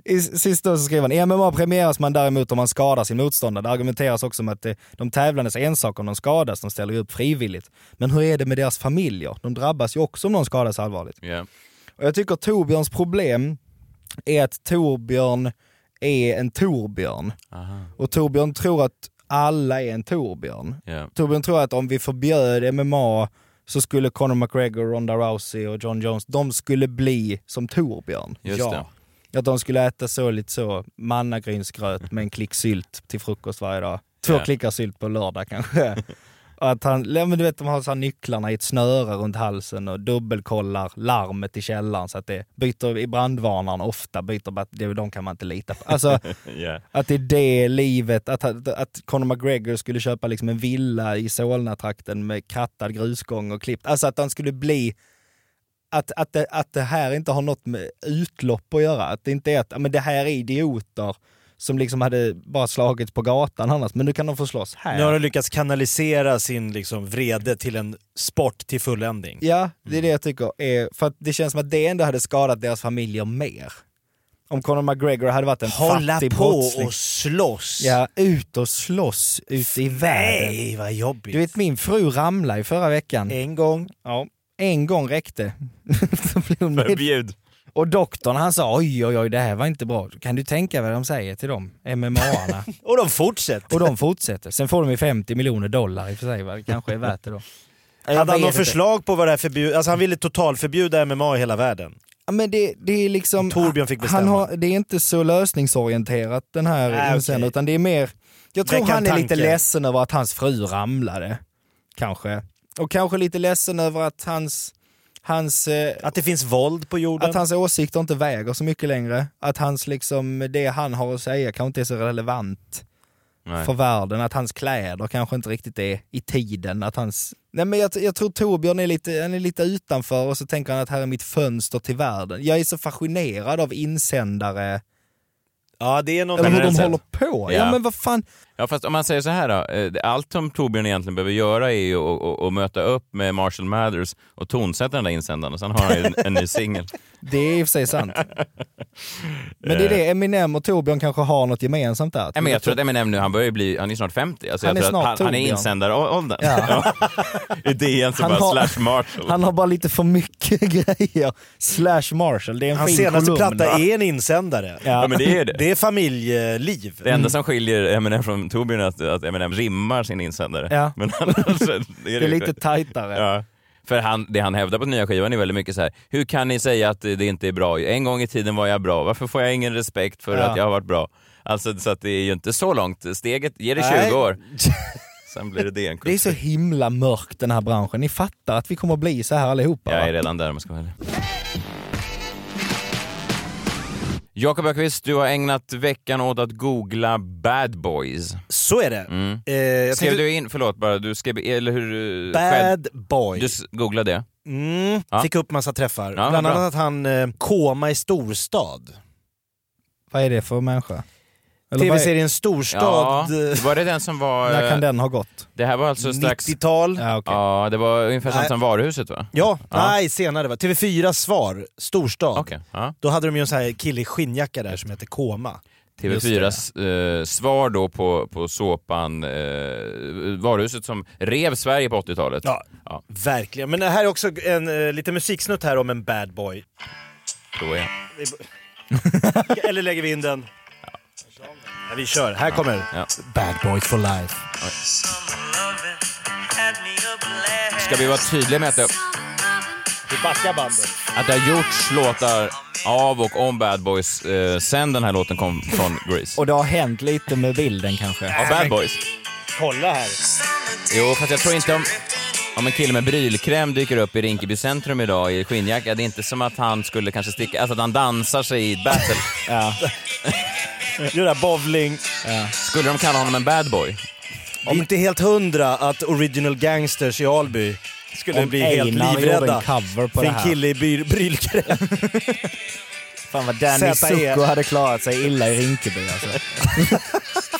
Speaker 3: I, sist då så skrev han, i MMA premieras man däremot om man skadar sin motståndare. Det argumenteras också om att eh, de tävlandes är en sak om de skadas, de ställer ju upp frivilligt. Men hur är det med deras familjer? De drabbas ju också om någon skadas allvarligt.
Speaker 4: Ja.
Speaker 3: Och jag tycker Torbjörns problem är att Torbjörn är en Torbjörn.
Speaker 4: Aha.
Speaker 3: Och Torbjörn tror att alla är en Torbjörn.
Speaker 4: Ja.
Speaker 3: Torbjörn tror att om vi förbjöd MMA så skulle Conor McGregor, Ronda Rousey och John Jones, de skulle bli som Torbjörn.
Speaker 4: Just det.
Speaker 3: Att de skulle äta så lite så mannagrynsgröt med en klick sylt till frukost varje dag. Två
Speaker 4: Ja.
Speaker 3: klickar sylt på lördag kanske. Och att han, ja, men du vet de har så här nycklarna i ett snöre runt halsen och dubbelkollar larmet i källaren så att det byter i brandvarnaren ofta, byter bara att det- de kan man inte lita på. Alltså
Speaker 4: Ja.
Speaker 3: att det är det livet, att, att, att Conor McGregor skulle köpa liksom en villa i Solna-trakten med krattad grusgång och klippt. Alltså att han skulle bli... Att, att, det, att det här inte har något med utlopp att göra. Att det inte är att ja, men det här är idioter som liksom hade bara slagits på gatan annars, men nu kan de få slåss här.
Speaker 5: Nu har de lyckats kanalisera sin liksom, vrede till en sport till fulländning.
Speaker 3: Ja, det är det jag tycker. Är, för att det känns som att det ändå hade skadat deras familjer mer. Om Conor McGregor hade varit en
Speaker 5: Hålla
Speaker 3: fattig
Speaker 5: på
Speaker 3: brottsling.
Speaker 5: och slåss!
Speaker 3: Ja, ut och slåss ute i världen.
Speaker 5: Nej, vad jobbigt.
Speaker 3: Du vet min fru ramlade i förra veckan.
Speaker 5: en gång.
Speaker 3: Ja. En gång räckte. Så blev hon med-
Speaker 4: Förbjud.
Speaker 3: och doktorn han sa oj oj oj det här var inte bra. Kan du tänka vad de säger till dem MMA-arna?
Speaker 5: Och de fortsätter.
Speaker 3: och de fortsätter. Sen får de ju 50 miljoner dollar i och för sig. va? Det kanske är värt det då. Jag
Speaker 5: Hade han
Speaker 3: vet
Speaker 5: något
Speaker 3: inte.
Speaker 5: förslag på vad det här förbjud... Alltså han ville totalförbjuda MMA i hela världen.
Speaker 3: Ja, Men det, det är liksom...
Speaker 5: Torbjörn fick
Speaker 3: han
Speaker 5: bestämma.
Speaker 3: har, det är inte så lösningsorienterat den
Speaker 5: Ah,
Speaker 3: här
Speaker 5: okej.
Speaker 3: insändaren utan det är mer... Jag tror
Speaker 5: Väcka en
Speaker 3: han är lite
Speaker 5: tanke.
Speaker 3: ledsen över att hans fru ramlade. Kanske. Och kanske lite ledsen över att hans... Hans eh,
Speaker 5: Att det finns våld på jorden.
Speaker 3: Att hans åsikter inte väger så mycket längre. Att hans, liksom, det han har att säga kanske inte är så relevant
Speaker 4: Nej.
Speaker 3: för världen. Att hans kläder kanske inte riktigt är i tiden. Att hans... Nej, men jag, jag tror Torbjörn är lite, han är lite utanför och så tänker han att här är mitt fönster till världen. Jag är så fascinerad av insändare.
Speaker 5: Ja, det är någon...
Speaker 3: Eller hur de
Speaker 4: Generellt
Speaker 3: håller på. Ja,
Speaker 4: Ja.
Speaker 3: men vad fan.
Speaker 4: Ja, fast om man säger så här då. eh, Allt som Torbjörn egentligen behöver göra är ju att, att, att möta upp med Marshall Mathers och tonsätta den där insändaren. Sen har han ju en, en ny singel.
Speaker 3: Det är i och för sig sant. men
Speaker 4: Eh.
Speaker 3: det är det, Eminem och Torbjörn kanske har något gemensamt där.
Speaker 4: Nej, men jag tror att Eminem nu, han börjar ju bli, han är snart 50. Alltså,
Speaker 3: Han
Speaker 4: jag
Speaker 3: är
Speaker 4: tror att
Speaker 3: snart
Speaker 4: han, han är
Speaker 3: Torbjörn.
Speaker 4: insändaråldern.
Speaker 3: Ja.
Speaker 4: I DN så
Speaker 3: Han
Speaker 4: bara
Speaker 3: har-
Speaker 4: slash Marshall.
Speaker 3: Han har bara lite för mycket grejer. Slash Marshall, det är en
Speaker 5: Hans
Speaker 3: fin
Speaker 5: senaste
Speaker 3: kolumn.
Speaker 5: platta är en insändare.
Speaker 4: Ja, men det är det.
Speaker 5: Det är familjeliv.
Speaker 4: Det enda som skiljer Eminem från Torbjörn är att, att Eminem rimmar sin insändare.
Speaker 3: Ja.
Speaker 4: Men annars är det,
Speaker 3: Det är lite tajtare.
Speaker 4: Ja. För han, det han hävdar på nya skivan är väldigt mycket så här. hur kan ni säga att det inte är bra? En gång i tiden var jag bra, varför får jag ingen respekt för
Speaker 3: Ja.
Speaker 4: att jag har varit bra? Alltså så att det är ju inte så långt. Steget, ge det 20
Speaker 3: Nej.
Speaker 4: år. Sen blir det det en
Speaker 3: Det är så
Speaker 4: kultur.
Speaker 3: himla mörkt den här branschen. Ni fattar att vi kommer att bli så här allihopa.
Speaker 4: Jag är
Speaker 3: va?
Speaker 4: redan där om jag ska vara ärlig. Jakob Öqvist, du har ägnat veckan åt att googla bad boys.
Speaker 5: Så är det. Eh, jag
Speaker 4: Mm. Skrev
Speaker 5: tänkte,
Speaker 4: du in, förlåt bara, du skrev, eller hur? eh, själv-
Speaker 5: bad boy.
Speaker 4: Du s- googlade det?
Speaker 5: Mm,
Speaker 4: Ja.
Speaker 5: Fick upp massa träffar.
Speaker 4: Ja,
Speaker 5: Bland
Speaker 4: bra.
Speaker 5: annat att han eh, koma i storstad.
Speaker 3: Vad är det för människa? Eller vad är,
Speaker 5: Tv-serien Storstad, eh,
Speaker 4: var det den som var...
Speaker 3: när kan
Speaker 4: det...
Speaker 3: den ha gått?
Speaker 4: det här var alltså strax...
Speaker 5: 90-tal. Ja.
Speaker 3: Ja, okej.
Speaker 4: Ja, det var ungefär
Speaker 5: Nej.
Speaker 4: samtidigt som varuhuset va? Ja.
Speaker 5: nej senare va. TV4 svar, Storstad.
Speaker 4: Okej. Ja.
Speaker 5: Då hade de ju en sån här kille i skinnjacka där som heter Koma.
Speaker 4: TV4s eh, svar då på, på såpan eh, Varuhuset som rev Sverige på 80-talet.
Speaker 5: Ja,
Speaker 4: Ja,
Speaker 5: verkligen. Men det här är också en eh, liten musiksnutt här om en bad boy.
Speaker 4: då är jag.
Speaker 5: Eller lägger vi in den? Ja, vi kör. Här kommer
Speaker 4: Ja.
Speaker 5: Bad boys for life.
Speaker 4: Ska vi vara tydliga med att det,
Speaker 5: Vi backar bandet.
Speaker 4: att det har gjorts låtar av och om Bad Boys eh, sen den här låten kom från Grease?
Speaker 3: Och det har hänt lite med bilden kanske.
Speaker 4: Av Bad Boys?
Speaker 5: Kolla här.
Speaker 4: Jo, fast jag tror inte om... Om en kille med brylkräm dyker upp i Rinkeby centrum idag i skinnjacka, det är inte som att han skulle kanske sticka, alltså att han dansar sig i ett battle.
Speaker 5: Gör det här bowling.
Speaker 4: Skulle de kalla honom en bad boy?
Speaker 5: Det är inte helt hundra att Original Gangsters i Alby skulle
Speaker 3: Om
Speaker 5: bli helt
Speaker 3: Einar gjorde
Speaker 5: livrädda.
Speaker 3: en cover på
Speaker 5: för
Speaker 3: det
Speaker 5: en
Speaker 3: här.
Speaker 5: kille i bry- brylkräm.
Speaker 3: Fan vad Danny
Speaker 5: Sätta er.
Speaker 3: Zucko hade klarat sig illa i Rinkeby alltså.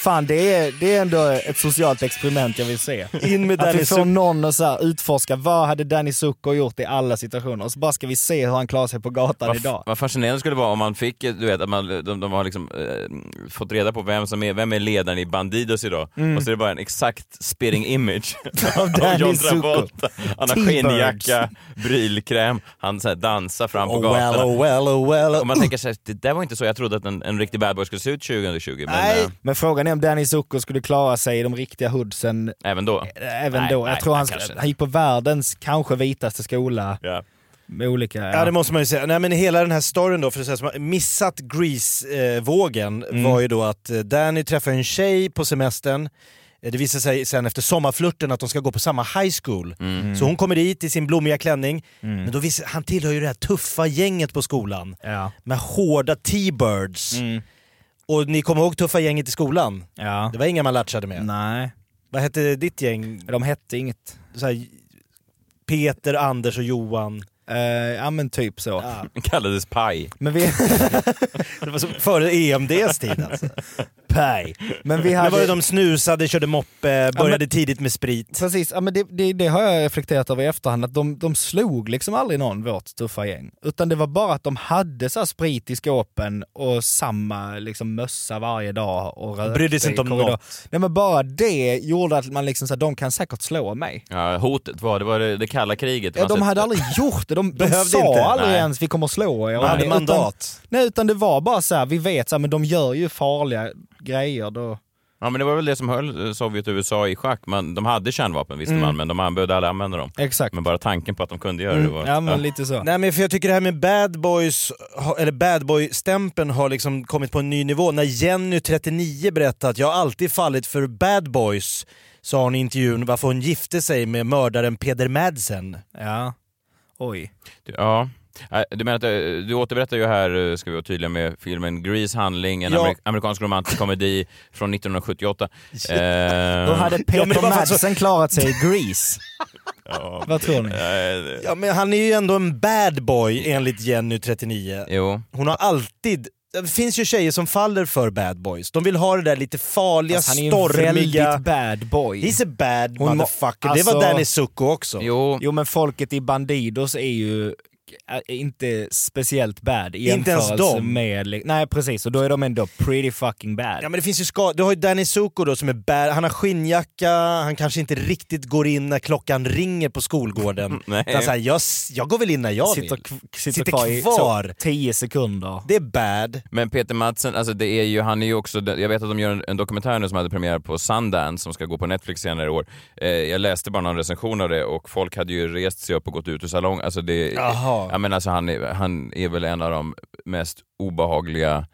Speaker 3: Fan det är, det är ändå ett socialt experiment jag vill se.
Speaker 5: In med
Speaker 3: Att
Speaker 5: Danny
Speaker 3: vi får
Speaker 5: Zucko.
Speaker 3: någon att så här utforska vad hade Danny Zucko gjort i alla situationer och så bara ska vi se hur han klarar sig på gatan
Speaker 4: Vad,
Speaker 3: idag.
Speaker 4: vad fascinerande det skulle vara om man fick, eh, du vet, att man, de, de har liksom, eh, fått reda på vem som är, vem är ledaren i Bandidos idag och så är det bara en exakt spitting image av
Speaker 3: Mm. Danny
Speaker 4: John
Speaker 3: Zucko.
Speaker 4: Travolta. Han har
Speaker 3: T-birds.
Speaker 4: skinnjacka, brylkräm, han så här dansar fram på
Speaker 5: Oh well,
Speaker 4: gatan.
Speaker 5: oh well, oh well.
Speaker 4: Och man tänker sig, det där var inte så jag trodde att en, en riktig bad boy skulle se ut 2020, men
Speaker 5: Nej.
Speaker 4: eh,
Speaker 3: Men frågan är om Danny Zucko skulle klara sig i de riktiga hoodsen
Speaker 4: även då.
Speaker 3: eh, även
Speaker 4: Nej,
Speaker 3: då. Jag
Speaker 4: nej,
Speaker 3: tror
Speaker 4: nej,
Speaker 3: han,
Speaker 4: kanske inte.
Speaker 3: han gick på världens kanske vitaste skola
Speaker 4: Ja.
Speaker 3: med olika...
Speaker 5: Ja det måste man ju säga. Nej men hela den här storyn då, för att säga som har missat Grease-vågen
Speaker 3: Mm.
Speaker 5: var ju då att eh, Danny träffar en tjej på semestern. Eh, Det visar sig sen efter sommarflirten att de ska gå på samma high school.
Speaker 3: Mm.
Speaker 5: Så hon kommer dit i sin blommiga klänning. Men då visar, han tillhör ju det här tuffa gänget på skolan.
Speaker 3: Ja.
Speaker 5: Med hårda T-birds.
Speaker 3: Mm.
Speaker 5: Och ni kommer ihåg tuffa gänget i skolan?
Speaker 3: Ja.
Speaker 5: Det var inga man latchade med.
Speaker 3: Nej,
Speaker 5: Vad hette ditt gäng?
Speaker 3: de hette inget.
Speaker 5: Så här, Peter, Anders och Johan.
Speaker 3: Eh, ja men typ så.
Speaker 4: Kallades paj.
Speaker 3: Men vi...
Speaker 5: Det var så före EMDs tid alltså.
Speaker 3: Paj. Men vi
Speaker 5: Det var ju
Speaker 3: hade...
Speaker 5: de snusade, körde moppe, började tidigt med sprit.
Speaker 3: Precis, ja, men det, det, det har jag reflekterat över i efterhand, att de, de slog liksom aldrig någon, vårt tuffa gäng. Utan det var bara att de hade så här sprit i skåpen och samma liksom, mössa varje dag och rökte
Speaker 5: brydde sig
Speaker 3: i
Speaker 5: inte om
Speaker 3: korridor.
Speaker 5: något.
Speaker 3: Nej men bara det gjorde att man liksom, så här, de kan säkert slå mig.
Speaker 4: Ja, hotet var, det var det, det kalla kriget.
Speaker 3: Ja,
Speaker 4: Man
Speaker 3: de
Speaker 4: sett-
Speaker 3: hade aldrig gjort det, de, de
Speaker 5: Alltså, Behövde
Speaker 3: sa
Speaker 5: inte.
Speaker 3: aldrig
Speaker 4: Nej.
Speaker 3: ens vi kommer slå er.
Speaker 5: Man hade
Speaker 3: Utan-
Speaker 5: mandat.
Speaker 3: Nej utan det var bara så här, vi vet så här, men de gör ju farliga grejer då.
Speaker 4: Ja, men det var väl det som höll eh, Sovjet och USA i schack. Man, de hade kärnvapen visste
Speaker 3: Mm.
Speaker 4: man, men de an- behövde aldrig använda dem.
Speaker 3: Exakt.
Speaker 4: Men bara tanken på att de kunde göra det var...
Speaker 3: Mm. Ja men lite så.
Speaker 5: Nej men för jag tycker det här med bad boys, ha- eller bad boy-stämpeln har liksom kommit på en ny nivå. När Jenny, 39, berättade att jag har alltid fallit för bad boys, sa hon i intervjun varför hon gifte sig med mördaren Peder Madsen.
Speaker 3: Ja. Oj.
Speaker 4: ja. Nej, Du, menar att, eh, du återberättar ju här, eh, ska vi vara tydliga med, filmen Grease handling, en
Speaker 5: Ja.
Speaker 4: amerik- amerikansk romantisk komedi från 1978. Eh,
Speaker 3: Då hade Peter
Speaker 5: men det var faktiskt så-
Speaker 3: Madsen klarat sig i Grease. Vad tror ni?
Speaker 4: eh,
Speaker 5: Ja men han är ju ändå en bad boy enligt Jenny, 39.
Speaker 4: jo.
Speaker 5: Hon har alltid... Det finns ju tjejer som faller för bad boys. De vill ha det där lite farliga,
Speaker 3: Fast Alltså, han är ju en
Speaker 5: stormiga...
Speaker 3: väldigt bad boy.
Speaker 5: He's a bad
Speaker 3: Hon må-
Speaker 5: motherfucker. det
Speaker 3: alltså-
Speaker 5: var Danny Zucco också.
Speaker 4: Jo.
Speaker 3: Jo men folket i Bandidos är ju äh, inte speciellt bad i
Speaker 5: Inte ens
Speaker 3: jämförelse
Speaker 5: dem.
Speaker 3: med... li- Nej precis, och då är de ändå pretty fucking bad.
Speaker 5: Ja, men det finns ju ska... Du har ju Danny Zucco då som är bad. Han har skinnjacka, han kanske inte riktigt går in när klockan ringer på skolgården.
Speaker 4: Nej.
Speaker 5: Utan så här, jag, s- jag går väl in när jag
Speaker 3: sitter,
Speaker 5: vill.
Speaker 3: kv- sitter,
Speaker 5: Sitter
Speaker 3: kvar i
Speaker 5: kvar.
Speaker 3: så, 10 sekunder.
Speaker 5: Det är bad.
Speaker 4: Men Peter Madsen, alltså det är ju, han är ju också, jag vet att de gör en, en dokumentär nu som hade premiär på Sundance som ska gå på Netflix senare i år. Eh, jag läste bara någon recension av det och folk hade ju rest sig upp och gått ut ur salong. Alltså det,
Speaker 5: Jaha.
Speaker 4: Ja, men alltså han, är, han är väl en av de mest obehagliga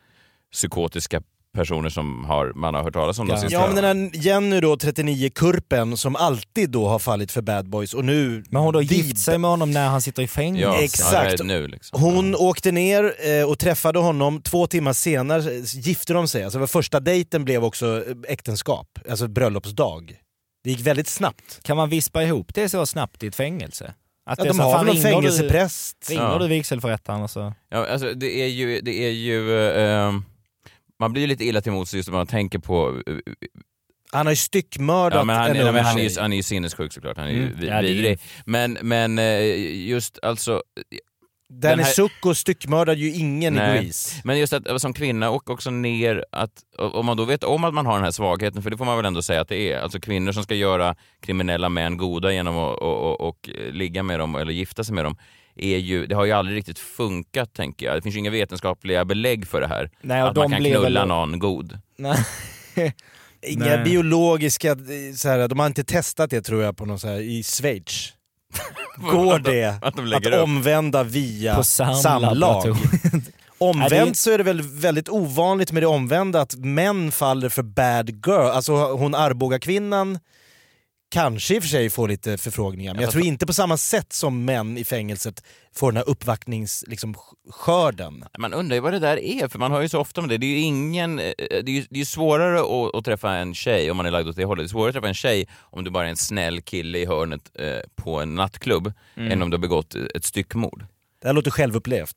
Speaker 4: psykotiska personer som har, man har hört talas om de
Speaker 3: Ja.
Speaker 4: sista
Speaker 5: Ja men den här Jenny då, 39, kurpen som alltid då har fallit för bad boys och nu...
Speaker 3: Men hon har
Speaker 5: Vid-
Speaker 3: gift sig med honom när han sitter i
Speaker 4: Ja,
Speaker 3: fängelse.
Speaker 5: Exakt.
Speaker 4: ja, det är nu liksom.
Speaker 5: Hon åkte ner eh, och träffade honom, två timmar senare eh, gifte de sig. Alltså, första dejten blev också eh, äktenskap, alltså bröllopsdag. Det gick väldigt snabbt.
Speaker 3: Kan man vispa ihop det så snabbt i ett fängelse? Att
Speaker 5: Att
Speaker 3: det är
Speaker 5: de
Speaker 3: så här,
Speaker 5: har
Speaker 3: fan,
Speaker 5: väl en
Speaker 3: ringer du-
Speaker 5: fängelsepräst.
Speaker 3: Ringer
Speaker 4: Ja.
Speaker 3: du vigselförrättaren och så...
Speaker 4: Ja, alltså, det är ju... Det är ju eh, man blir ju lite illa till mods just när man tänker på... eh,
Speaker 5: Han har ju styckmördat
Speaker 4: Ja, men han,
Speaker 5: en
Speaker 4: nej,
Speaker 5: ung
Speaker 4: men han, är
Speaker 5: tjej.
Speaker 4: ju, han är ju sinnessjuk såklart, han är ju
Speaker 3: Mm.
Speaker 4: vi-
Speaker 3: Ja, det är ju-
Speaker 4: vidrig. Men, men eh, just alltså... den
Speaker 5: Danny
Speaker 4: här-
Speaker 5: Zuko styckmördade ju ingen
Speaker 4: Nej.
Speaker 5: i Grease.
Speaker 4: Men just att eh, som kvinna och också ner att... och- Om man då vet om att man har den här svagheten, för det får man väl ändå säga att det är. Alltså kvinnor som ska göra kriminella män goda genom att och, och, och eh, ligga med dem eller gifta sig med dem. Är ju, det har ju aldrig riktigt funkat tänker jag. Det finns ju inga vetenskapliga belägg för det här.
Speaker 3: Nej, och
Speaker 4: att man
Speaker 3: de
Speaker 4: kan
Speaker 3: blir
Speaker 4: knulla
Speaker 3: väl-
Speaker 4: någon god.
Speaker 3: Nej.
Speaker 5: Inga
Speaker 3: Nej.
Speaker 5: biologiska... eh, Så här, de har inte testat det tror jag på någon så här, i Schweiz. Går det
Speaker 4: Att de
Speaker 5: att
Speaker 4: lägger upp.
Speaker 5: omvända via
Speaker 3: På
Speaker 5: samlag?
Speaker 3: Nej, det är-
Speaker 5: Omvänt så är det väl väldigt ovanligt med det omvända att män faller för bad girl. Alltså hon Arboga-kvinnan kanske i och för sig får lite förfrågningar men jag tror inte på samma sätt som män i fängelset får den här uppvaktningsskörden. Liksom, sk- skörden.
Speaker 4: Man undrar ju vad det där är, för man hör ju så ofta om det. Det är ju ingen... eh, Det är ju, det är ju svårare att, att träffa en tjej om man är lagd åt det hållet. Det är svårare att träffa en tjej om du bara är en snäll kille i hörnet eh, på en nattklubb
Speaker 5: Mm.
Speaker 4: än om du har begått eh, ett styckmord.
Speaker 5: det här låter självupplevt.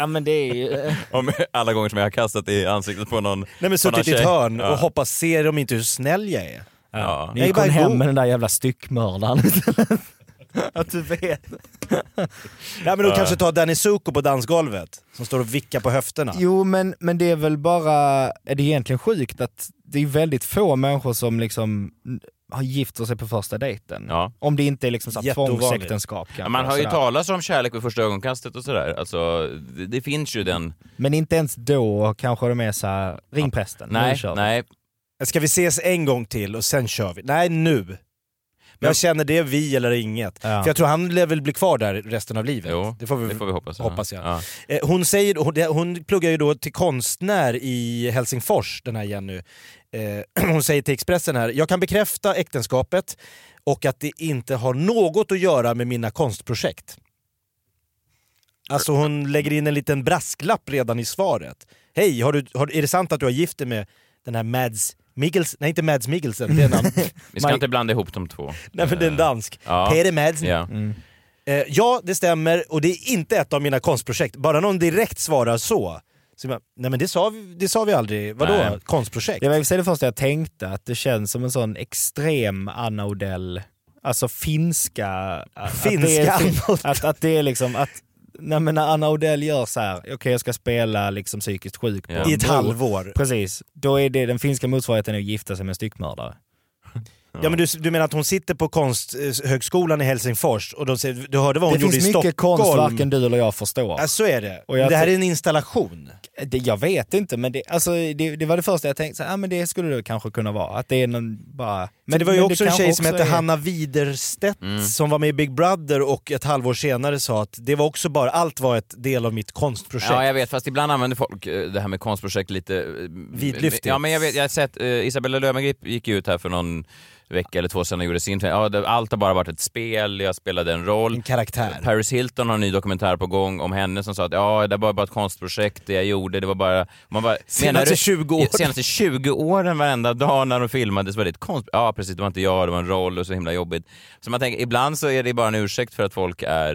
Speaker 3: Ja men det är ju...
Speaker 4: Om alla gånger som jag har kastat det i ansiktet på någon...
Speaker 5: Nej men
Speaker 4: på någon
Speaker 5: suttit i ett
Speaker 4: tjej.
Speaker 5: hörn
Speaker 4: Ja.
Speaker 5: och hoppas, ser de inte hur snäll jag är?
Speaker 4: Ja.
Speaker 3: Ni
Speaker 5: är
Speaker 3: kom
Speaker 5: bara
Speaker 3: hem
Speaker 5: god.
Speaker 3: med den där jävla styckmördaren. att du vet.
Speaker 5: Nej men då kanske ta Danny Zuko på dansgolvet som står och vickar på höfterna.
Speaker 3: Jo men, men det är väl bara, är det egentligen sjukt att det är väldigt få människor som liksom har gift sig på första dejten.
Speaker 4: Ja.
Speaker 3: Om det inte är liksom så här
Speaker 5: Jätteovanligt.
Speaker 3: tvångsäktenskap kanske.
Speaker 4: Man har ju
Speaker 3: sådär.
Speaker 4: talat om kärlek vid första ögonkastet och sådär. Alltså, det, det finns ju den...
Speaker 3: Men inte ens då kanske de är såhär, ring prästen, nu
Speaker 4: Nej,
Speaker 3: kör vi.
Speaker 4: nej.
Speaker 5: Ska vi ses en gång till och sen kör vi? Nej, nu. Jag känner det är vi eller inget.
Speaker 3: Ja.
Speaker 5: För jag tror han lär väl bli kvar där resten av livet.
Speaker 4: Jo,
Speaker 5: det får vi,
Speaker 4: Det får vi hoppas. ja.
Speaker 5: hoppas jag.
Speaker 4: Ja.
Speaker 5: Eh, Hon, säger, hon, det- hon pluggar ju då till konstnär i Helsingfors, den här Jenny. Eh, hon säger till Expressen här, jag kan bekräfta äktenskapet och att det inte har något att göra med mina konstprojekt. Alltså hon lägger in en liten brasklapp redan i svaret. Hej, har du, har, är det sant att du har gift dig med den här Mads Mikkelsen? Nej, inte Mads Mikkelsen, det är en annan.
Speaker 4: Vi ska
Speaker 5: Man-
Speaker 4: inte blanda ihop de två.
Speaker 5: Nej, men det är en dansk.
Speaker 4: Ja.
Speaker 5: Peder Mads.
Speaker 4: Ja.
Speaker 5: Eh, ja, det stämmer och det är inte ett av mina konstprojekt. Bara någon direkt svarar så. så jag bara, Nej men det sa vi, det sa vi aldrig. Vadå
Speaker 4: Nej.
Speaker 5: konstprojekt?
Speaker 3: Det var i och för sig det första jag tänkte, att det känns som en sån extrem Anna Odell, alltså finska... att- att det
Speaker 5: Finska
Speaker 3: är, liksom-
Speaker 5: Anna Odell.
Speaker 3: att, att det är liksom att, nej men när Anna Odell gör så här, okej jag ska spela liksom psykiskt sjuk på
Speaker 4: Ja.
Speaker 3: en
Speaker 5: I ett
Speaker 3: bro.
Speaker 5: halvår.
Speaker 3: Precis, då är det den finska motsvarigheten att gifta sig med en styckmördare.
Speaker 5: Ja men du, du menar att hon sitter på konsthögskolan i Helsingfors och de säger, du hörde vad hon
Speaker 3: det
Speaker 5: gjorde
Speaker 3: finns
Speaker 5: i
Speaker 3: mycket
Speaker 5: Stockholm? Alltså-
Speaker 3: konst varken du eller jag förstår.
Speaker 5: Ja, så är det.
Speaker 3: Och jag
Speaker 5: det här
Speaker 3: tror-
Speaker 5: är en installation.
Speaker 3: det, jag vet inte men det, alltså, det, det var det första jag tänkte, så, här, ah, men det skulle det kanske kunna vara. Att det är någon bara...
Speaker 5: Men det var ju också Mm. en
Speaker 3: kanske
Speaker 5: tjej som
Speaker 3: också
Speaker 5: hette
Speaker 3: är-
Speaker 5: Hanna Widerstedt som var med i Big Brother och ett halvår senare sa att det var också bara, allt var ett del av mitt konstprojekt.
Speaker 4: Ja, jag vet. Fast ibland använder folk eh, det här med konstprojekt lite... eh,
Speaker 5: Vidlyftigt.
Speaker 4: Ja, men jag, vet, jag har sett... eh, Isabella Löwengrip gick ju ut här för någon vecka eller två sedan och gjorde sin... Ja, det, allt har bara varit ett spel, jag spelade en roll.
Speaker 5: En karaktär.
Speaker 4: Paris Hilton har en ny dokumentär på gång om henne som sa att ja, det var bara ett konstprojekt, det jag gjorde, det var bara... Man bara
Speaker 5: Senaste
Speaker 4: menar du-
Speaker 5: 20 åren.
Speaker 4: Senaste 20 åren, varenda dag när de filmades var det ett konst... Ja, precis, det var inte jag, det var en roll och så himla jobbigt. Så man tänker, ibland så är det bara en ursäkt för att folk är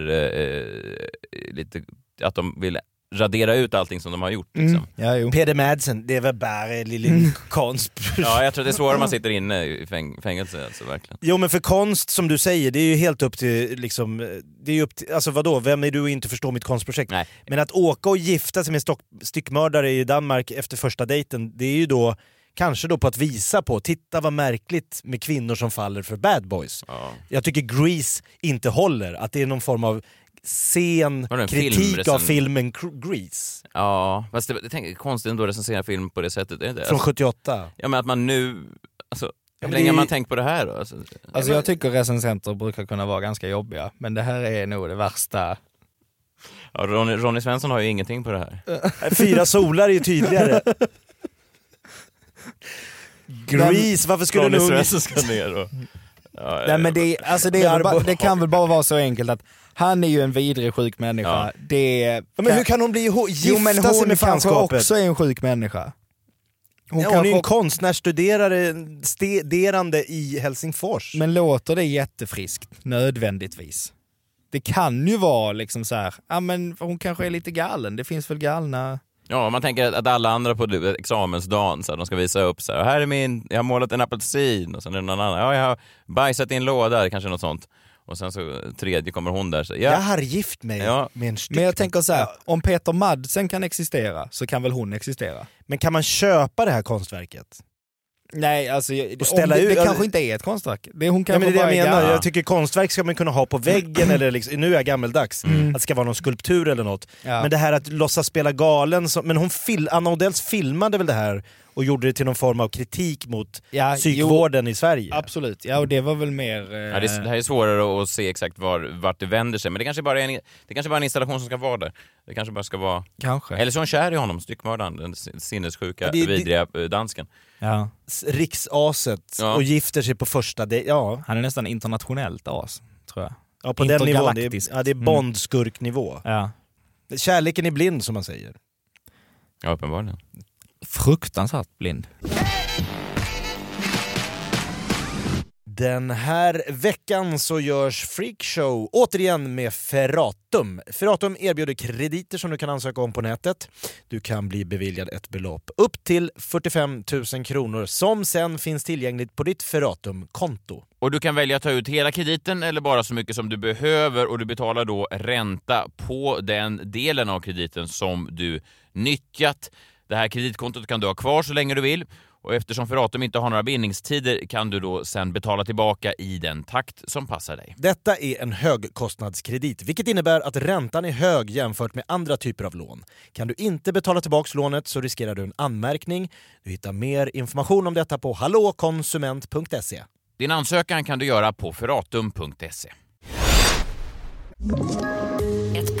Speaker 4: eh, lite... Att de vill radera ut allting som de har gjort. Liksom.
Speaker 5: Mm.
Speaker 3: Ja, jo. Mm.
Speaker 5: Peder Madsen, det var bara en liten konstprojekt.
Speaker 4: Ja, jag tror att det är svårare om man sitter inne i fäng- fängelse, alltså verkligen.
Speaker 5: Jo men för konst som du säger, det är ju helt upp till liksom, eh, det är ju upp till, alltså vadå, vem är du att inte förstå mitt konstprojekt?
Speaker 4: Nej.
Speaker 5: Men att åka och gifta sig med stock, styckmördare i Danmark efter första dejten, det är ju då kanske då på att visa på, titta vad märkligt med kvinnor som faller för bad boys.
Speaker 4: Ja.
Speaker 5: Jag tycker Grease inte håller, att det är någon form av sen
Speaker 4: Var det en
Speaker 5: kritik
Speaker 4: filmrecen-
Speaker 5: av filmen Gr- Grease
Speaker 4: Ja, fast det, jag tänker, konstigt ändå att recensera film på det sättet. Är det det?
Speaker 5: från
Speaker 4: Alltså,
Speaker 5: 78.
Speaker 4: ja, men att man nu... Alltså, hur
Speaker 5: men
Speaker 4: länge
Speaker 5: det-
Speaker 4: har man tänkt på det här då? Alltså,
Speaker 3: Alltså jag tycker recensenter brukar kunna vara ganska jobbiga, men det här är nog det värsta.
Speaker 5: Äh,
Speaker 4: ja, Ronny, Ronny Svensson har ju ingenting på det här.
Speaker 5: Fyra solar är ju tydligare. Grease, varför skulle
Speaker 4: Ronny
Speaker 5: du... nog-
Speaker 4: Svensson ska ner och... Ja,
Speaker 3: Nej, men det, alltså det, är väl bara, det kan väl bara vara så enkelt att han är ju en vidrig sjuk människa.
Speaker 4: Ja.
Speaker 3: Det,
Speaker 5: Ja, Men hur kan hon bli ihop, gifta
Speaker 3: jo, men hon
Speaker 5: sig med
Speaker 3: kanske
Speaker 5: fanskapet?
Speaker 3: också är en sjuk människa. Hon,
Speaker 5: Ja, hon är
Speaker 3: kanske
Speaker 5: ju en
Speaker 3: också,
Speaker 5: konstnärsstuderare studerande i Helsingfors.
Speaker 3: men låter det jättefriskt, nödvändigtvis. Det kan ju vara liksom så här, ja men hon kanske är lite galen, det finns väl galna...
Speaker 4: Ja, man tänker att- att alla andra på du- examensdagen, så här, de ska visa upp så här, här är min, jag har målat en apelsin och sen är det någon annan, ja jag har bajsat i en låda, eller kanske något sånt. Och sen så tredje kommer hon där, så,
Speaker 5: Jag
Speaker 4: ja,
Speaker 5: har gift mig
Speaker 4: Ja.
Speaker 5: med en
Speaker 3: Men jag
Speaker 5: styck.
Speaker 3: tänker så här, om Peter Madsen kan existera så kan väl hon existera?
Speaker 5: Men kan man köpa det här konstverket?
Speaker 3: Nej, alltså jag-
Speaker 5: Och ställa
Speaker 3: om det,
Speaker 5: ut-
Speaker 3: det kanske inte är ett konstverk. Det, hon
Speaker 5: Ja, men
Speaker 3: kanske
Speaker 5: det är
Speaker 3: bara
Speaker 5: det jag
Speaker 3: är
Speaker 5: menar.
Speaker 3: gammal.
Speaker 5: Jag tycker konstverk ska man kunna ha på väggen, eller liksom, nu är jag gammeldags, att det ska vara någon skulptur eller något.
Speaker 3: Ja.
Speaker 5: Men det här att låtsas spela galen, som, men hon fil, Anna Odells filmade väl det här och gjorde det till någon form av kritik mot
Speaker 3: Ja,
Speaker 5: psykvården i Sverige?
Speaker 3: Absolut, ja och det var väl mer... eh,
Speaker 4: Ja, det, är, det här är svårare att se exakt var, vart det vänder sig, men det kanske bara är en, det kanske bara är en installation som ska vara där. Det kanske bara ska vara...
Speaker 3: Kanske.
Speaker 4: Eller så är hon kär i honom, styckmördaren, den sin- sinnessjuka,
Speaker 5: Ja, det- det-
Speaker 4: vidriga eh, dansken.
Speaker 3: Ja.
Speaker 5: S- Riksaset
Speaker 4: Ja.
Speaker 5: och gifter sig på första dejt. Ja,
Speaker 3: Han är nästan internationellt as, tror jag.
Speaker 5: ja, på den nivån. Det
Speaker 3: Intergalaktiskt.
Speaker 5: är, ja, det är
Speaker 3: Mm.
Speaker 5: Bondskurknivå.
Speaker 3: Ja.
Speaker 5: Kärleken är blind som man säger.
Speaker 4: Ja, uppenbarligen.
Speaker 3: Fruktansvärt blind.
Speaker 5: Den här veckan så görs Freakshow återigen med Ferratum. Ferratum erbjuder krediter som du kan ansöka om på nätet. Du kan bli beviljad ett belopp upp till 45 000 kronor som sen finns tillgängligt på ditt Ferratum-konto.
Speaker 4: Och du kan välja att ta ut hela krediten eller bara så mycket som du behöver och du betalar då ränta på den delen av krediten som du nyttjat. Det här kreditkontot kan du ha kvar så länge du vill och eftersom Ferratum inte har några bindningstider kan du då sen betala tillbaka i den takt som passar dig.
Speaker 5: Detta är en högkostnadskredit, vilket innebär att räntan är hög jämfört med andra typer av lån. Kan du inte betala tillbaka lånet så riskerar du en anmärkning. Du hittar mer information om detta på hallåkonsument.se.
Speaker 4: Din ansökan kan du göra på ferratum.se.
Speaker 6: Ett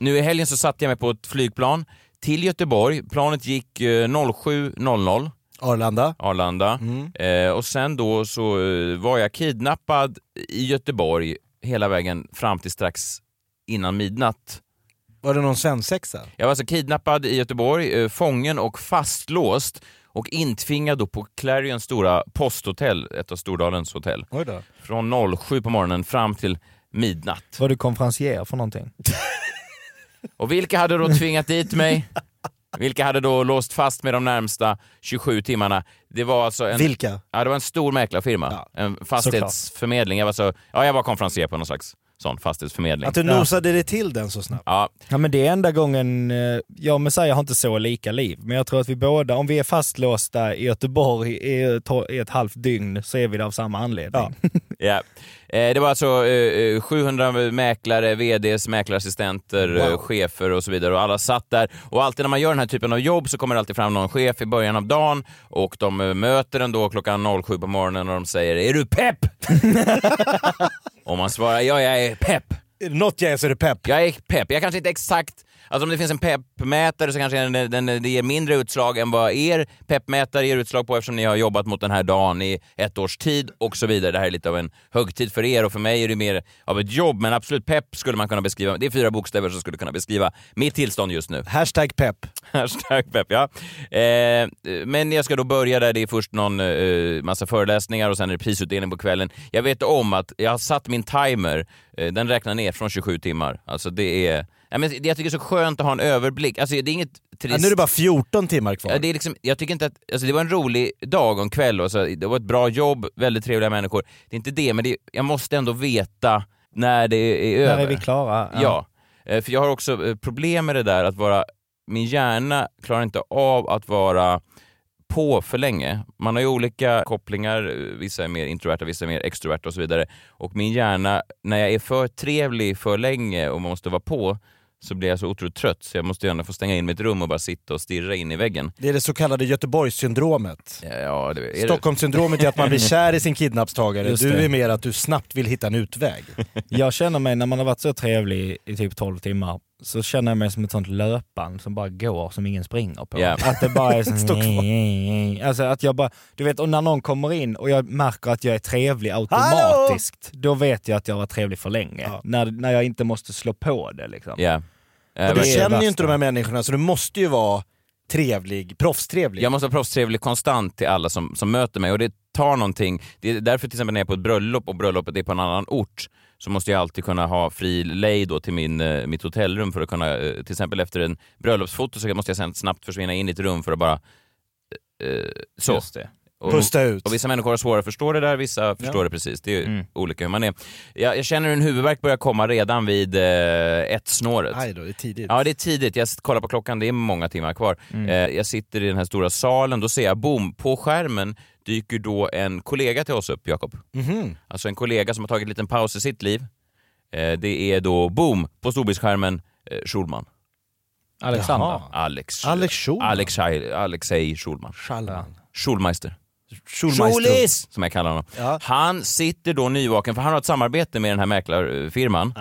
Speaker 4: Nu i helgen så satte jag mig på ett flygplan till Göteborg. Planet gick eh, 07.00.
Speaker 5: Arlanda.
Speaker 4: Arlanda.
Speaker 5: Mm.
Speaker 4: Eh, och sen då så eh, var jag kidnappad i Göteborg hela vägen fram till strax innan midnatt.
Speaker 5: Var det någon svensexa?
Speaker 4: Jag var alltså kidnappad i Göteborg, eh, fången och fastlåst och intvingad då på Clarions stora posthotell, ett av Stordalens hotell,
Speaker 5: Oj då.
Speaker 4: från 07 på morgonen fram till midnatt.
Speaker 3: Var du konferencier för någonting?
Speaker 4: Och vilka hade då tvingat dit mig? Vilka hade då låst fast mig de närmsta 27 timmarna? Det var alltså en...
Speaker 5: Vilka?
Speaker 4: Ja, det var en stor mäklarfirma. En fastighetsförmedling. Jag var, så, ja, jag var konferencier på någon slags sån fastighetsförmedling.
Speaker 5: Att du nosade dig till den så snabbt?
Speaker 4: Ja,
Speaker 3: Ja men det är enda gången, eh, jag med säger har inte så lika liv, men jag tror att vi båda, om vi är fastlåsta i Göteborg i ett, i ett halvt dygn så är vi där av samma anledning.
Speaker 4: ja. Eh, det var alltså eh, eh, 700 mäklare, VDs, mäklarassistenter, eh, chefer och så vidare och alla satt där. Och alltid när man gör den här typen av jobb så kommer det alltid fram någon chef i början av dagen och de eh, möter en då klockan 07 på morgonen och de säger “Är du pepp?” Och man svarar “Ja, jag är pepp”.
Speaker 5: Något jag är så är det pepp.
Speaker 4: Jag är pepp. Jag kanske inte exakt... Alltså om det finns en peppmätare så kanske den, den, det ger mindre utslag än vad er peppmätare ger utslag på eftersom ni har jobbat mot den här dagen i ett års tid och så vidare. Det här är lite av en högtid för er och för mig är det mer av ett jobb men absolut pepp skulle man kunna beskriva. Det är fyra bokstäver som skulle kunna beskriva mitt tillstånd just nu.
Speaker 5: Hashtag pepp.
Speaker 4: Hashtag pepp, ja. Eh, men jag ska då börja där. Det är först någon eh, massa föreläsningar och sen är det prisutdelning på kvällen. Jag vet om att jag har satt min timer. Eh, den räknar ner från 27 timmar. Alltså det är... Ja, men det, jag tycker det är så skönt att ha en överblick. Alltså det är inget trist.
Speaker 5: Ja, nu är det bara 14 timmar kvar.
Speaker 4: Ja, det är liksom, jag tycker inte att, alltså det var en rolig dag och en kväll och så, det var ett bra jobb, väldigt trevliga människor. Det är inte det, men det, jag måste ändå veta när det är över.
Speaker 3: När är vi klara?
Speaker 4: Ja, eh, för jag har också eh, problem med det där att vara, min hjärna klarar inte av att vara på för länge. Man har ju olika kopplingar, eh, vissa är mer introverta, vissa är mer extroverta och så vidare. Och min hjärna, när jag är för trevlig för länge och man måste vara på, så blir jag så otroligt trött så jag måste gärna få stänga in mitt rum och bara sitta och stirra in i väggen. Eh,
Speaker 5: Det är det så kallade Göteborgssyndromet.
Speaker 4: Ja, det, är det,
Speaker 5: Stockholmssyndromet är att man blir kär i sin kidnappstagare.
Speaker 3: Just
Speaker 5: Du
Speaker 3: det.
Speaker 5: är mer att du snabbt vill hitta en utväg.
Speaker 3: Jag känner mig, när man har varit så trevlig i typ 12 timmar, så känner jag mig som ett sånt löpband som bara går som ingen springer på.
Speaker 4: Ja.
Speaker 3: Att det bara är sån... alltså att jag bara, du vet, och när någon kommer in och jag märker att jag är trevlig automatiskt, då vet jag att jag var trevlig för länge. När, när jag inte måste slå på det liksom.
Speaker 4: ja. Eh,
Speaker 5: Och du
Speaker 3: det är
Speaker 5: känner ju
Speaker 3: värsta.
Speaker 5: inte de här människorna så du måste ju vara trevlig, proffstrevlig.
Speaker 4: Jag måste vara proffstrevlig konstant till alla som, som möter mig och det tar någonting. Det är därför till exempel när jag är på ett bröllop och bröllopet är på en annan ort så måste jag alltid kunna ha fri lejd då till min, eh, mitt hotellrum för att kunna, eh, till exempel efter en bröllopsfoto så måste jag sen snabbt försvinna in i ett rum för att bara... eh, så.
Speaker 2: Just det.
Speaker 4: Och,
Speaker 5: Pusta ut.
Speaker 4: och vissa människor har svårare att förstå det där, vissa förstår det precis. Det är ju
Speaker 2: Mm.
Speaker 4: olika hur man är. Jag, jag känner hur en huvudvärk börjar komma redan vid eh, ett snåret.
Speaker 5: Aj då, det är tidigt.
Speaker 4: Ja, det är tidigt. Jag kollar på klockan, det är många timmar kvar. Eh, jag sitter i den här stora salen, då ser jag boom, på skärmen dyker då en kollega till oss upp, Jakob. Alltså en kollega som har tagit en liten paus i sitt liv. Eh, det är då boom, på storbildsskärmen, eh, Schulman.
Speaker 3: Alexander.
Speaker 4: Alex...
Speaker 5: Alex Schulman?
Speaker 4: Alexei, Alexei Schulman.
Speaker 5: Schallman.
Speaker 4: Schulmeister.
Speaker 5: Schulmeister.
Speaker 4: Som jag kallar honom.
Speaker 5: Ja.
Speaker 4: Han sitter då nyvaken, för han har ett samarbete med den här mäklarfirman.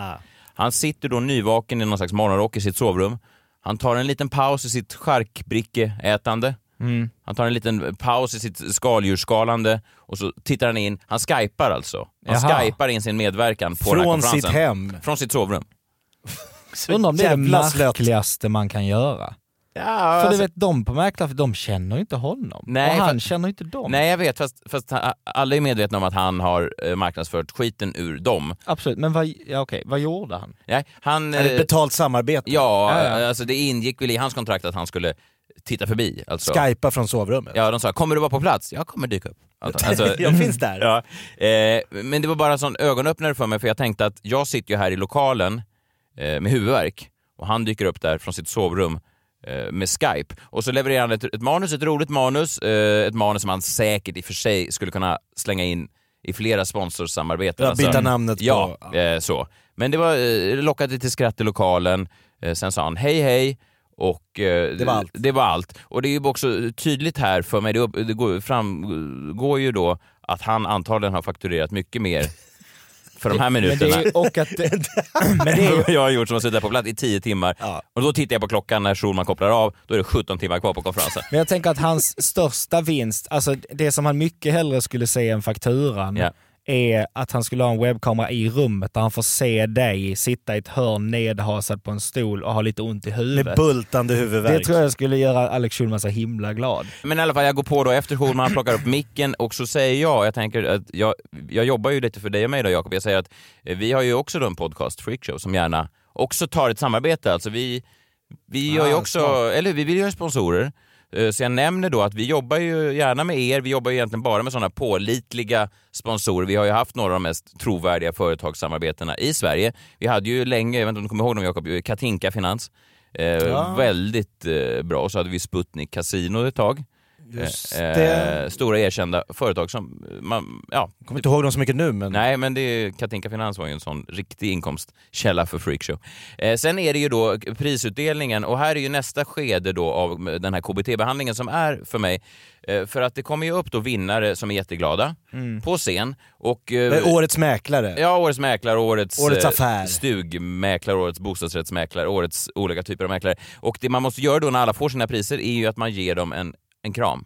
Speaker 4: Han sitter då nyvaken i någon slags morgonrock i sitt sovrum. Han tar en liten paus i sitt charkbrickeätande.
Speaker 5: Mm.
Speaker 4: Han tar en liten paus i sitt skaldjursskalande och så tittar han in. Han skypar alltså. Han
Speaker 3: Jaha.
Speaker 4: skypar in sin medverkan på den här
Speaker 5: Från
Speaker 4: konferensen.
Speaker 5: sitt hem.
Speaker 4: Från sitt sovrum.
Speaker 3: Undrar om det är det
Speaker 5: jävla Alltså- slött.
Speaker 3: märkligaste man kan göra. för du vet, de på mäklar, för de känner ju inte honom.
Speaker 4: Nej,
Speaker 3: och han
Speaker 4: för-
Speaker 3: känner ju inte dem.
Speaker 4: Nej, jag vet, fast, fast han- alla är medvetna om att han har eh, marknadsfört skiten ur dem.
Speaker 3: Absolut, men vad, ja, okej, vad gjorde han?
Speaker 4: Nej, han...
Speaker 5: Är det ett
Speaker 4: eh,
Speaker 5: betalt samarbete?
Speaker 4: Ja,
Speaker 3: Ja, ja.
Speaker 4: alltså det ingick väl i hans kontrakt att han skulle titta förbi. Alltså.
Speaker 5: Skypa från sovrummet?
Speaker 4: Ja, de sa “Kommer du vara på plats?” “Jag kommer dyka upp”. Alltså, alltså,
Speaker 5: Jag finns där.
Speaker 4: ja. eh, men det var bara en sån ögonöppnare för mig, för jag tänkte att jag sitter ju här i lokalen eh, med huvudvärk och han dyker upp där från sitt sovrum eh, med Skype. Och så levererar han ett, ett manus, ett roligt manus, eh, ett manus som han säkert i och för sig skulle kunna slänga in i flera sponsorsamarbeten. Alltså,
Speaker 5: Ja, byta namnet på-
Speaker 4: ja, Eh, så. Men det var eh, lockade till skratt i lokalen, eh, sen sa han hej hej och eh,
Speaker 5: Det var allt.
Speaker 4: det var allt. Och det är ju också tydligt här för mig, det, upp, det går, framgår ju då att han antagligen har fakturerat mycket mer för de här
Speaker 3: Men det
Speaker 4: minuterna
Speaker 3: är, och att det, men det är,
Speaker 4: än vad jag har gjort som har suttit där på plats i 10 timmar. Och då tittar jag på klockan när Schulman kopplar av, då är det 17 timmar kvar på konferensen.
Speaker 3: Men jag tänker att hans största vinst, alltså det som han mycket hellre skulle se än fakturan,
Speaker 4: Ja.
Speaker 3: är att han skulle ha en webbkamera i rummet där han får se dig sitta i ett hörn nedhasad på en stol och ha lite ont i huvudet.
Speaker 5: Med bultande huvudvärk.
Speaker 3: det tror jag skulle göra Alex Schulman så himla glad.
Speaker 4: Men i alla fall, jag går på då efter Schulman, plockar upp micken och så säger jag, jag tänker att jag, jag jobbar ju lite för dig och mig då Jakob, jag säger att eh, vi har ju också då en podcast, Freakshow, som gärna också tar ett samarbete. Alltså vi, vi gör ju också, eller vi vill ju ha sponsorer. Eh, Så jag nämner då att vi jobbar ju gärna med er, vi jobbar ju egentligen bara med sådana pålitliga sponsorer. Vi har ju haft några av de mest trovärdiga företagssamarbetena i Sverige. Vi hade ju länge, jag vet inte om du kommer ihåg dem Jakob, Katinka Finans. Eh, Väldigt eh, bra. Och så hade vi Sputnik Casino ett tag.
Speaker 5: Just
Speaker 4: Eh,
Speaker 5: det.
Speaker 4: Stora erkända företag som eh, man, ja,
Speaker 5: Jag kommer inte ihåg dem så mycket nu men...
Speaker 4: nej men det är, Katinka Finans var ju en sån riktig inkomstkälla för Freakshow. Eh, sen är det ju då prisutdelningen och här är ju nästa skede då av den här KBT-behandlingen som är för mig, eh, för att det kommer ju upp då vinnare som är jätteglada
Speaker 5: Mm.
Speaker 4: på scen och... eh,
Speaker 5: Men Årets mäklare.
Speaker 4: Ja, årets mäklare, årets,
Speaker 5: Årets
Speaker 4: eh,
Speaker 5: affär.
Speaker 4: stugmäklare, årets bostadsrättsmäklare, årets olika typer av mäklare. Och det man måste göra då när alla får sina priser är ju att man ger dem en, en kram.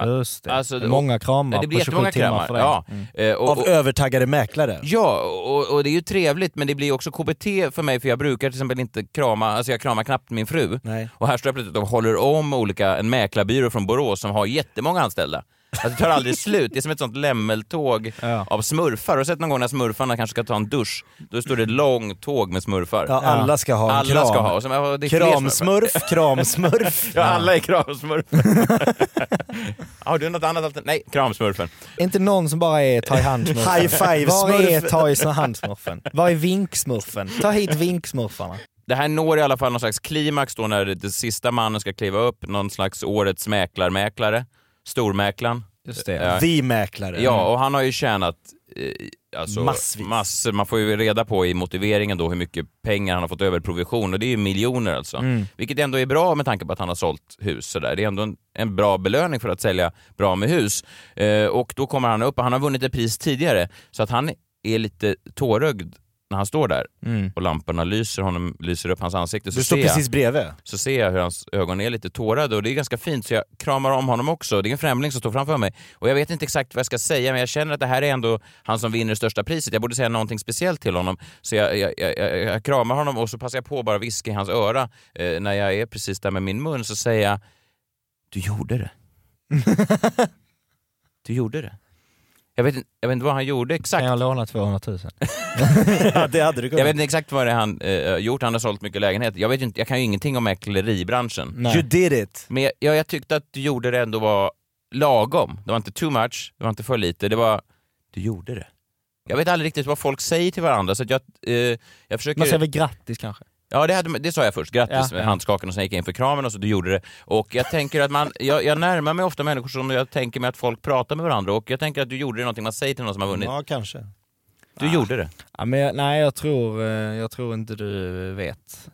Speaker 3: Just det.
Speaker 4: Alltså, det-
Speaker 3: många kramar
Speaker 4: det blir
Speaker 3: på 27
Speaker 4: jättemånga kramar.
Speaker 3: timmar för dig.
Speaker 4: Ja. Eh, och,
Speaker 5: Av
Speaker 4: och,
Speaker 5: övertaggade mäklare.
Speaker 4: ja, och, och det är ju trevligt men det blir också KBT för mig för jag brukar till exempel inte krama, alltså jag kramar knappt min fru.
Speaker 5: Nej.
Speaker 4: Och här står jag plötsligt och håller om olika, en mäklarbyrå från Borås som har jättemånga anställda. Alltså det tar aldrig slut, det är som ett sånt lämmeltåg
Speaker 3: Ja.
Speaker 4: av smurfar. Har du sett någon gång när smurfarna kanske ska ta en dusch? Då står det ett långt tåg med smurfar.
Speaker 5: Ja, alla ska ha en
Speaker 4: alla
Speaker 5: kram.
Speaker 4: ska ha. Och så, ja, det är fler smurfar.
Speaker 5: Kramsmurf, kramsmurf.
Speaker 4: Ja, alla är kramsmurfar. har du något annat alternativ? Nej, kramsmurfen.
Speaker 3: Inte någon som bara är Thai handsmurfen.
Speaker 5: High five
Speaker 3: Var är
Speaker 5: smurfen?
Speaker 3: Thai handsmurfen? Var är vinksmurfen? Ta hit vinksmurfarna.
Speaker 4: Det här når i alla fall någon slags klimax då när den sista mannen ska kliva upp, någon slags årets mäklarmäklare, stormäklaren.
Speaker 3: Just det.
Speaker 4: Ja.
Speaker 5: The mäklare.
Speaker 4: Ja, och han har ju tjänat eh, alltså,
Speaker 5: Massvis.
Speaker 4: massor. Man får ju reda på i motiveringen då hur mycket pengar han har fått över i provision och det är ju miljoner alltså.
Speaker 5: Mm.
Speaker 4: Vilket ändå är bra med tanke på att han har sålt hus. Så där. Det är ändå en, en bra belöning för att sälja bra med hus. Eh, och då kommer han upp och han har vunnit ett pris tidigare så att han är lite tårögd när han står där och lamporna lyser, honom, lyser upp hans ansikte. Så
Speaker 5: Mm. Du står
Speaker 4: ser jag
Speaker 5: precis bredvid.
Speaker 4: så ser jag hur hans ögon är lite tårade och det är ganska fint så jag kramar om honom också. Det är en främling som står framför mig och jag vet inte exakt vad jag ska säga men jag känner att det här är ändå han som vinner det största priset. Jag borde säga någonting speciellt till honom så jag, jag, jag, jag, jag kramar honom och så passar jag på att bara viska i hans öra eh, när jag är precis där med min mun så säger jag Du gjorde det. du gjorde det. Jag vet, inte- jag vet inte vad han gjorde exakt.
Speaker 3: Kan jag låna 200 000?
Speaker 5: Ja, det hade du
Speaker 4: Jag
Speaker 5: kunnat.
Speaker 4: vet inte exakt vad det är han eh, gjort, han har sålt mycket lägenheter. Jag, vet ju inte, jag kan ju ingenting om mäkleribranschen.
Speaker 5: You did it.
Speaker 4: Men jag, ja, jag tyckte att du gjorde det ändå var lagom. Det var inte too much, det var inte för lite. Det var, du gjorde det. Jag vet aldrig riktigt vad folk säger till varandra så att jag, eh, jag försöker...
Speaker 3: Man säger väl grattis kanske?
Speaker 4: Ja, det, hade, det sa jag först. Grattis
Speaker 3: Ja,
Speaker 4: med
Speaker 3: ja.
Speaker 4: handskaken och sen gick jag in för kramen och så du gjorde det. Och jag tänker att man, jag, jag närmar mig ofta människor som jag tänker mig att folk pratar med varandra och jag tänker att du gjorde det någonting man säger till någon som har vunnit.
Speaker 5: Ja, kanske.
Speaker 4: Du gjorde det.
Speaker 3: Ja, men jag, nej, jag tror, eh, jag tror inte du vet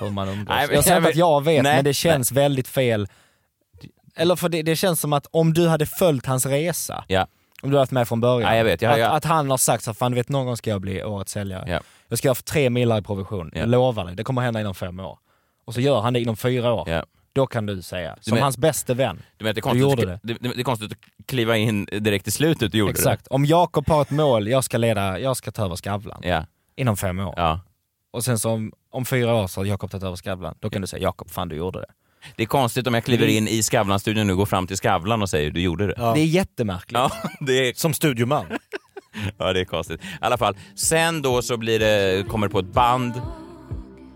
Speaker 3: hur man umgås.
Speaker 4: Nej, men-
Speaker 3: jag säger inte att jag vet,
Speaker 4: Nej,
Speaker 3: men det känns väldigt fel. Eller för det, det känns som att om du hade följt hans resa,
Speaker 4: Ja.
Speaker 3: om du hade varit med från början,
Speaker 4: Ja, jag vet. Jag-
Speaker 3: att,
Speaker 4: jag-
Speaker 3: att han har sagt så här, fan du vet någon gång ska jag bli årets säljare.
Speaker 4: Ja.
Speaker 3: Jag ska ha för tre millar i provision,
Speaker 4: Ja.
Speaker 3: jag lovar dig, det kommer hända inom fem år. Och så gör han det inom fyra år.
Speaker 4: Ja.
Speaker 3: Då kan du säga, som
Speaker 4: men-
Speaker 3: hans bäste vän.
Speaker 4: Du menar att det är konstigt,
Speaker 3: gjorde
Speaker 4: att- det. Det, är konstigt att kliva in direkt i slutet, du gjorde
Speaker 3: Exakt. Om Jakob har ett mål, jag ska leda, jag ska ta över Skavlan.
Speaker 4: det. Ja,
Speaker 3: Inom fem år.
Speaker 4: ja.
Speaker 3: Och sen så om, om fyra år så har Jakob tagit över Skavlan. Då kan du säga Jakob, fan du gjorde det.
Speaker 4: Det är konstigt om jag kliver in i Skavlan-studion nu, går fram till Skavlan och säger du gjorde det.
Speaker 5: Ja.
Speaker 3: Det är jättemärkligt.
Speaker 4: Ja, det är,
Speaker 5: Som studioman.
Speaker 4: ja, det är konstigt. I alla fall, sen då så blir det, kommer det på ett band.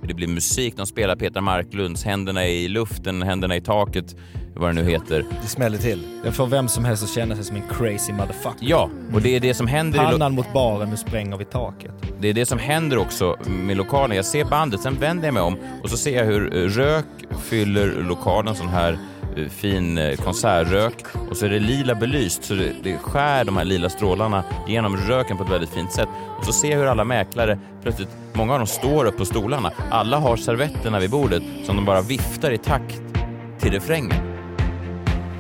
Speaker 4: Det blir musik, de spelar Petra Marklunds Händerna i luften, Händerna i taket, vad det nu heter.
Speaker 5: Det smäller till.
Speaker 3: Det får vem som helst att känna sig som en crazy motherfucker.
Speaker 4: Ja, och det är det som händer i lo-
Speaker 3: Pannan mot baren, nu spränger vi taket.
Speaker 4: Det är det som händer också med lokalen. Jag ser bandet, sen vänder jag mig om och så ser jag hur eh, rök fyller lokalen, sån här eh, fin eh, konsertrök och så är det lila belyst så det, det skär de här lila strålarna genom röken på ett väldigt fint sätt. Och så ser jag hur alla mäklare plötsligt, många av dem står upp på stolarna. Alla har servetterna vid bordet som de bara viftar i takt till refrängen.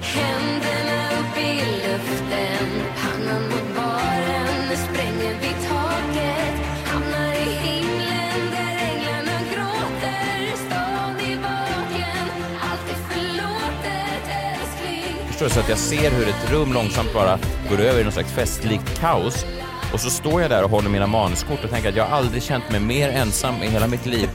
Speaker 7: Händerna upp i luften, pannan mot baren. Nu spränger vi taket, hamnar i himlen där änglarna gråter. Stadig vaken, allt är förlåtet, älskling.
Speaker 4: Förstår du? Så att jag ser hur ett rum långsamt bara går över i någon slags festligt kaos. Och så står jag där och håller mina manuskort och tänker att jag har aldrig känt mig mer ensam i hela mitt liv.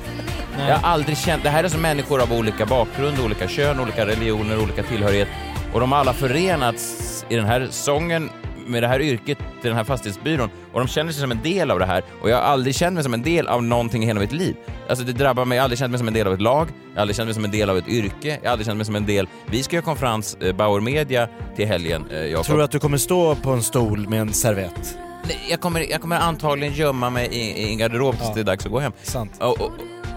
Speaker 4: Jag har aldrig känt... Det här är som människor av olika bakgrund, olika kön, olika religioner, olika tillhörighet. Och de har alla förenats i den här sången, med det här yrket, i den här fastighetsbyrån. Och de känner sig som en del av det här. Och jag har aldrig känt mig som en del av någonting i hela mitt liv. Alltså det drabbar mig. Jag har aldrig känt mig som en del av ett lag. Jag har aldrig känt mig som en del av ett yrke. Jag har aldrig känt mig som en del... Vi ska göra konferens, eh, Bauer Media, till helgen, eh, Jakob.
Speaker 5: Tror du att du kommer stå på en stol med en servett?
Speaker 4: Nej, Jag kommer, jag kommer antagligen gömma mig i, i en garderob tills det är dags att gå hem.
Speaker 5: Sant.
Speaker 4: Och, och,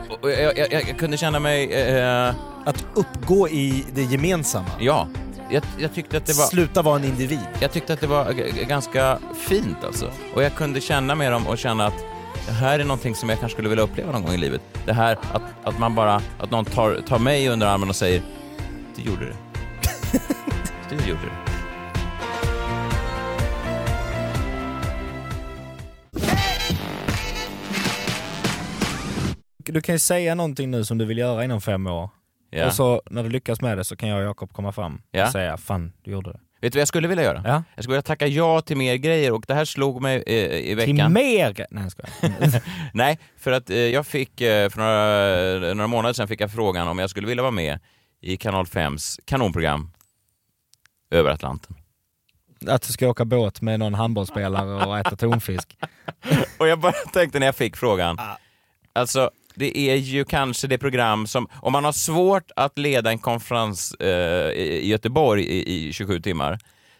Speaker 4: och, och, jag, jag, jag kunde känna mig... Eh,
Speaker 5: Att uppgå i det gemensamma.
Speaker 4: ja. Jag, jag, tyckte att det var,
Speaker 5: Sluta vara en individ.
Speaker 4: jag tyckte att det var g- g- ganska fint alltså. Och jag kunde känna med dem och känna att det här är någonting som jag kanske skulle vilja uppleva någon gång i livet. Det här att, att man bara... Att någon tar, tar mig under armen och säger Du gjorde det. du gjorde det.
Speaker 3: Du kan ju säga någonting nu som du vill göra inom fem år.
Speaker 4: Ja.
Speaker 3: Och så när du lyckas med det så kan jag och Jakob komma fram
Speaker 4: Ja.
Speaker 3: och säga, fan du gjorde det.
Speaker 4: Vet du vad jag skulle vilja göra?
Speaker 3: Ja.
Speaker 4: Jag skulle vilja tacka ja till mer grejer och det här slog mig eh, i veckan.
Speaker 3: Till mer gre- Nej jag skojar.
Speaker 4: Nej, för att eh, jag fick eh, för några, några månader sedan fick jag frågan om jag skulle vilja vara med i Kanal 5s kanonprogram Över Atlanten.
Speaker 3: Att du ska åka båt med någon handbollsspelare och äta tonfisk.
Speaker 4: Och jag bara tänkte när jag fick frågan,
Speaker 3: Ah.
Speaker 4: alltså det är ju kanske det program som, om man har svårt att leda en konferens eh, i i Göteborg i, i 27 timmar,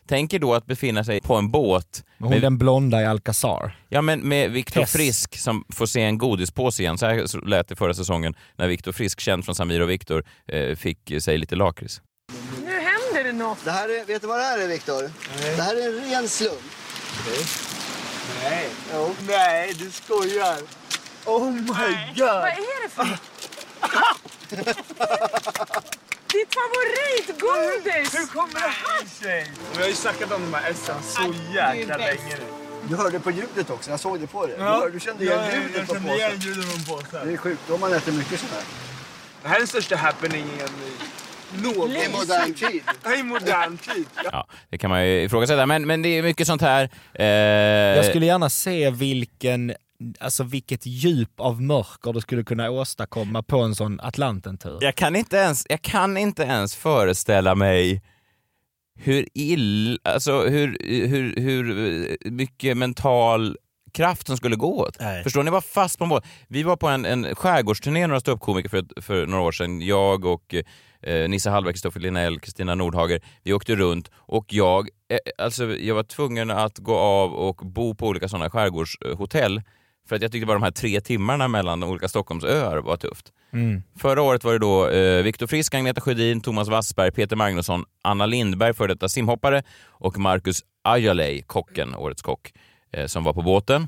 Speaker 4: Tänk er då att befinna sig på en båt
Speaker 3: Hon
Speaker 4: med,
Speaker 3: den blonda i Alcazar.
Speaker 4: ja, men med Viktor
Speaker 3: Tess.
Speaker 4: Frisk som får se en godispåse igen. Så här så lät det förra säsongen när Viktor Frisk, känd från Samir och Viktor, eh, fick eh, sig lite lakrits.
Speaker 8: Nu händer det något.
Speaker 9: Det här är, vet du vad det här är, Viktor? Det här är en ren slump. Nej. Jo. Nej, du skojar. Oh my
Speaker 8: Vad är det för Ditt favoritgodis! Hur kommer det här sig?
Speaker 9: Vi har ju snackat om de här essen så jäkla länge nu. Du hörde på ljudet också, jag såg det på dig. Du, hör- du kände igen ljudet på påsen. Det är sjukt om man äter mycket sånt här. Det här är den största happeningen i någon... I modern tid. I modern tid.
Speaker 4: Ja, det kan man ju ifrågasätta, men, men det är mycket sånt här. Eh,
Speaker 3: Jag skulle gärna se vilken, alltså vilket djup av mörker du skulle kunna åstadkomma på en sån typ. Atlantentur.
Speaker 4: jag, kan inte ens, jag kan inte ens föreställa mig hur ill, alltså hur, hur, hur eh, mycket mental kraft som skulle gå åt.
Speaker 5: Nej.
Speaker 4: Förstår ni? Jag var fast på en båt. Vi var på en, en skärgårdsturné, några ståuppkomiker, för, ett- för några år sedan. Jag och eh, Nisse Hallberg, Kristoffer Linell, Kristina Nordhager. Vi åkte runt och jag, eh, alltså, jag var tvungen att gå av och bo på olika sådana skärgårdshotell. För att jag tyckte bara de här tre timmarna mellan de olika Stockholmsöar var tufft. Förra året var det då eh, Viktor Frisk, Agneta Sjödin, Thomas Wassberg, Peter Magnusson, Anna Lindberg, före detta simhoppare och Marcus Ajalay, kocken, årets kock, eh, som var på båten.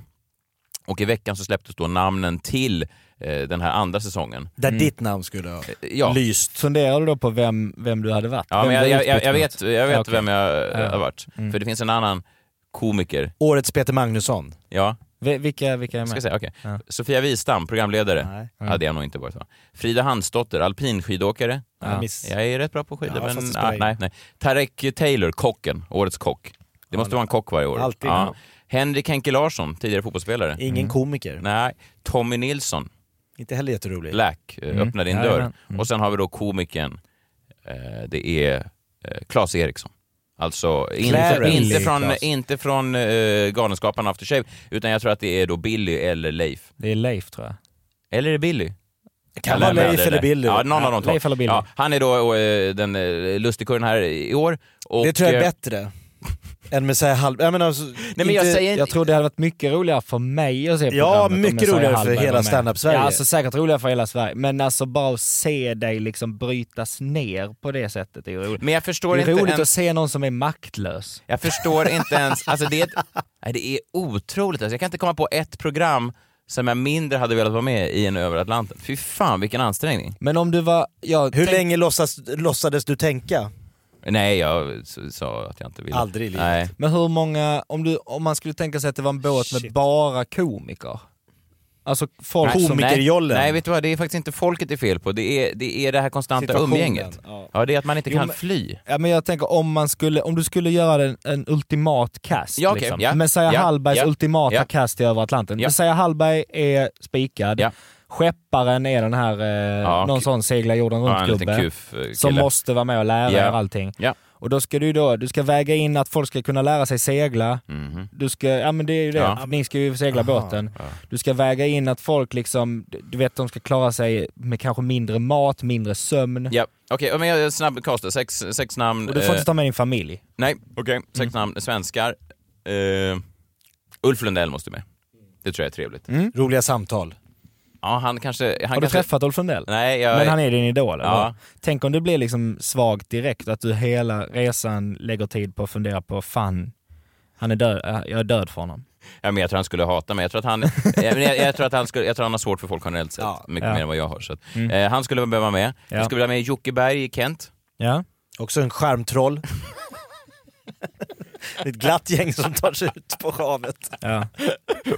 Speaker 4: Och i veckan så släpptes då namnen till eh, den här andra säsongen.
Speaker 5: Där ditt namn skulle ha
Speaker 4: Mm. Eh, Ja,
Speaker 5: lyst.
Speaker 3: Funderar du då på vem, vem du hade varit?
Speaker 4: ja
Speaker 3: vem
Speaker 4: men jag, jag,
Speaker 3: du
Speaker 4: jag,
Speaker 3: utbytt
Speaker 4: jag
Speaker 3: mot?
Speaker 4: vet, jag vet
Speaker 3: Ja, okej.
Speaker 4: vem jag eh,
Speaker 3: Ja.
Speaker 4: har varit. För det finns en annan komiker.
Speaker 5: Årets Peter Magnusson.
Speaker 4: Ja,
Speaker 3: Vi- Vilka, vilka är
Speaker 4: ska jag
Speaker 3: med?
Speaker 4: säga? Okej.
Speaker 3: Ja.
Speaker 4: Sofia Wistam, programledare.
Speaker 5: Nej. Mm.
Speaker 4: Hade jag nog inte varit. Va? Frida Hansdotter, alpinskidåkare.
Speaker 5: Jag miss-
Speaker 4: Jag är rätt bra på skidor,
Speaker 5: Ja, fast det
Speaker 4: men
Speaker 5: spelar
Speaker 4: ah,
Speaker 5: ingen-
Speaker 4: nej, nej. Tarek Taylor, kocken, årets kock. Det måste vara en kock varje år.
Speaker 5: Alltid.
Speaker 4: Ja. Henrik Henke Larsson, tidigare fotbollsspelare.
Speaker 5: Ingen komiker.
Speaker 4: Mm. Nej, Tommy Nilsson,
Speaker 5: Inte heller jätterolig.
Speaker 4: Black, eh,
Speaker 5: Mm.
Speaker 4: öppna din dörr.
Speaker 3: Jajamän.
Speaker 4: Och sen har vi då komikern, eh, det är eh, Claes Eriksson. Alltså inte,
Speaker 5: Clarence.
Speaker 4: inte
Speaker 5: Billy
Speaker 4: från,
Speaker 5: Claes.
Speaker 4: inte från eh, Galenskaparna After Shave, utan jag tror att det är då Billy eller Leif.
Speaker 3: Det är Leif tror jag.
Speaker 4: Eller är det Billy?
Speaker 5: kan vara
Speaker 4: lämna
Speaker 5: Leif
Speaker 4: det
Speaker 5: eller
Speaker 4: där.
Speaker 5: Billy.
Speaker 4: Ja, någon av de två.
Speaker 3: Leif eller Billy.
Speaker 4: Ja, han är då eh, den eh, lustigkurren här i år. Och,
Speaker 5: det tror jag är
Speaker 4: eh,
Speaker 5: bättre. än med så här halv... Nej men, alltså,
Speaker 4: Nej, men jag säger inte...
Speaker 3: Jag tror det hade varit mycket roligare för mig att se
Speaker 5: Ja,
Speaker 3: programmet om
Speaker 5: mycket
Speaker 3: Messiah
Speaker 5: roligare för
Speaker 3: Hallberg
Speaker 5: hela
Speaker 3: var med.
Speaker 5: stand-up-Sverige.
Speaker 3: Ja, alltså säkert roligare för hela Sverige. Men alltså bara att se dig liksom brytas ner på det sättet är ju roligt.
Speaker 4: Men jag förstår
Speaker 3: det
Speaker 4: inte
Speaker 3: är roligt
Speaker 4: ens...
Speaker 3: att se någon som är maktlös.
Speaker 4: Jag förstår inte ens... Alltså det, är ett, nej, det är otroligt. Alltså jag kan inte komma på ett program som jag mindre hade velat vara med i än Över Atlanten. Fy fan vilken ansträngning.
Speaker 3: Men om du var... Ja,
Speaker 5: Hur
Speaker 3: tänk-
Speaker 5: länge låtsas, låtsades du tänka?
Speaker 4: Nej, jag s- sa att jag inte ville.
Speaker 5: Aldrig i livet.
Speaker 4: Nej.
Speaker 3: Men hur många... Om, du, om man skulle tänka sig att det var en båt med bara komiker. Alltså folk
Speaker 4: Nej,
Speaker 3: som...
Speaker 5: komikerjollen.
Speaker 4: Nej, vet du vad? Det är faktiskt inte folket det är fel på. Det är det, är det här konstanta
Speaker 5: Situationen,
Speaker 4: umgänget.
Speaker 5: ja.
Speaker 4: Ja, det är att man inte
Speaker 3: Jo,
Speaker 4: kan
Speaker 3: men-
Speaker 4: fly.
Speaker 3: Ja, men jag tänker om, man skulle, om du skulle göra en, en ultimat cast.
Speaker 4: Ja, okej,
Speaker 3: liksom.
Speaker 4: ja,
Speaker 3: Messiah
Speaker 4: ja,
Speaker 3: Hallbergs
Speaker 4: ja,
Speaker 3: ultimata
Speaker 4: ja.
Speaker 3: cast i Över Atlanten.
Speaker 4: Ja.
Speaker 3: Messiah Hallberg är spikad.
Speaker 4: Ja.
Speaker 3: Skepparen är den här, eh, någon
Speaker 4: k-
Speaker 3: sån segla jorden
Speaker 4: Ja, en
Speaker 3: runt-gubbe.
Speaker 4: liten kuf eh, kille.
Speaker 3: som måste vara med och lära
Speaker 4: Ja.
Speaker 3: er allting.
Speaker 4: Ja.
Speaker 3: Och då ska du ju då, du ska väga in att folk ska kunna lära sig segla.
Speaker 4: Mhm.
Speaker 3: Du ska, ja men det är ju det,
Speaker 4: Ja.
Speaker 3: ni ska ju segla båten. Du ska väga in att folk liksom, du vet de ska klara sig med kanske mindre mat, mindre sömn.
Speaker 4: Ja, okej. men jag snabb castar. Sex, sex namn.
Speaker 3: Och du får
Speaker 4: eh,
Speaker 3: inte ta Mm. med din familj.
Speaker 5: Mm.
Speaker 4: Nej, okej. Sex namn. Svenskar. Eh, Ulf Lundell måste med. Det tror jag är trevligt.
Speaker 5: Roliga samtal.
Speaker 4: Ja, han kanske... Han
Speaker 3: Mm. Har du
Speaker 4: kanske...
Speaker 3: träffat Ulf Lundell?
Speaker 4: Nej, jag...
Speaker 3: Men han är din idol? eller?
Speaker 4: Ja.
Speaker 3: Tänk om det blir liksom svagt direkt, att du hela resan lägger tid på att fundera på fan, han är död, eh, jag är död för honom.
Speaker 4: Ja, men jag tror han skulle hata mig. Jag tror att han, jag, jag, jag tror att han, skulle, jag tror han har svårt för folk generellt sett.
Speaker 5: Ja.
Speaker 4: mycket
Speaker 3: Ja. Mm.
Speaker 4: mer än vad jag har. Så att, eh, han skulle behöva vara med.
Speaker 3: Ja.
Speaker 4: Jag skulle vilja ha med Jocke Berg i Kent.
Speaker 3: Ja.
Speaker 5: Också en skärmtroll. Det är Ett glatt gäng som tar sig ut på havet.
Speaker 3: Ja.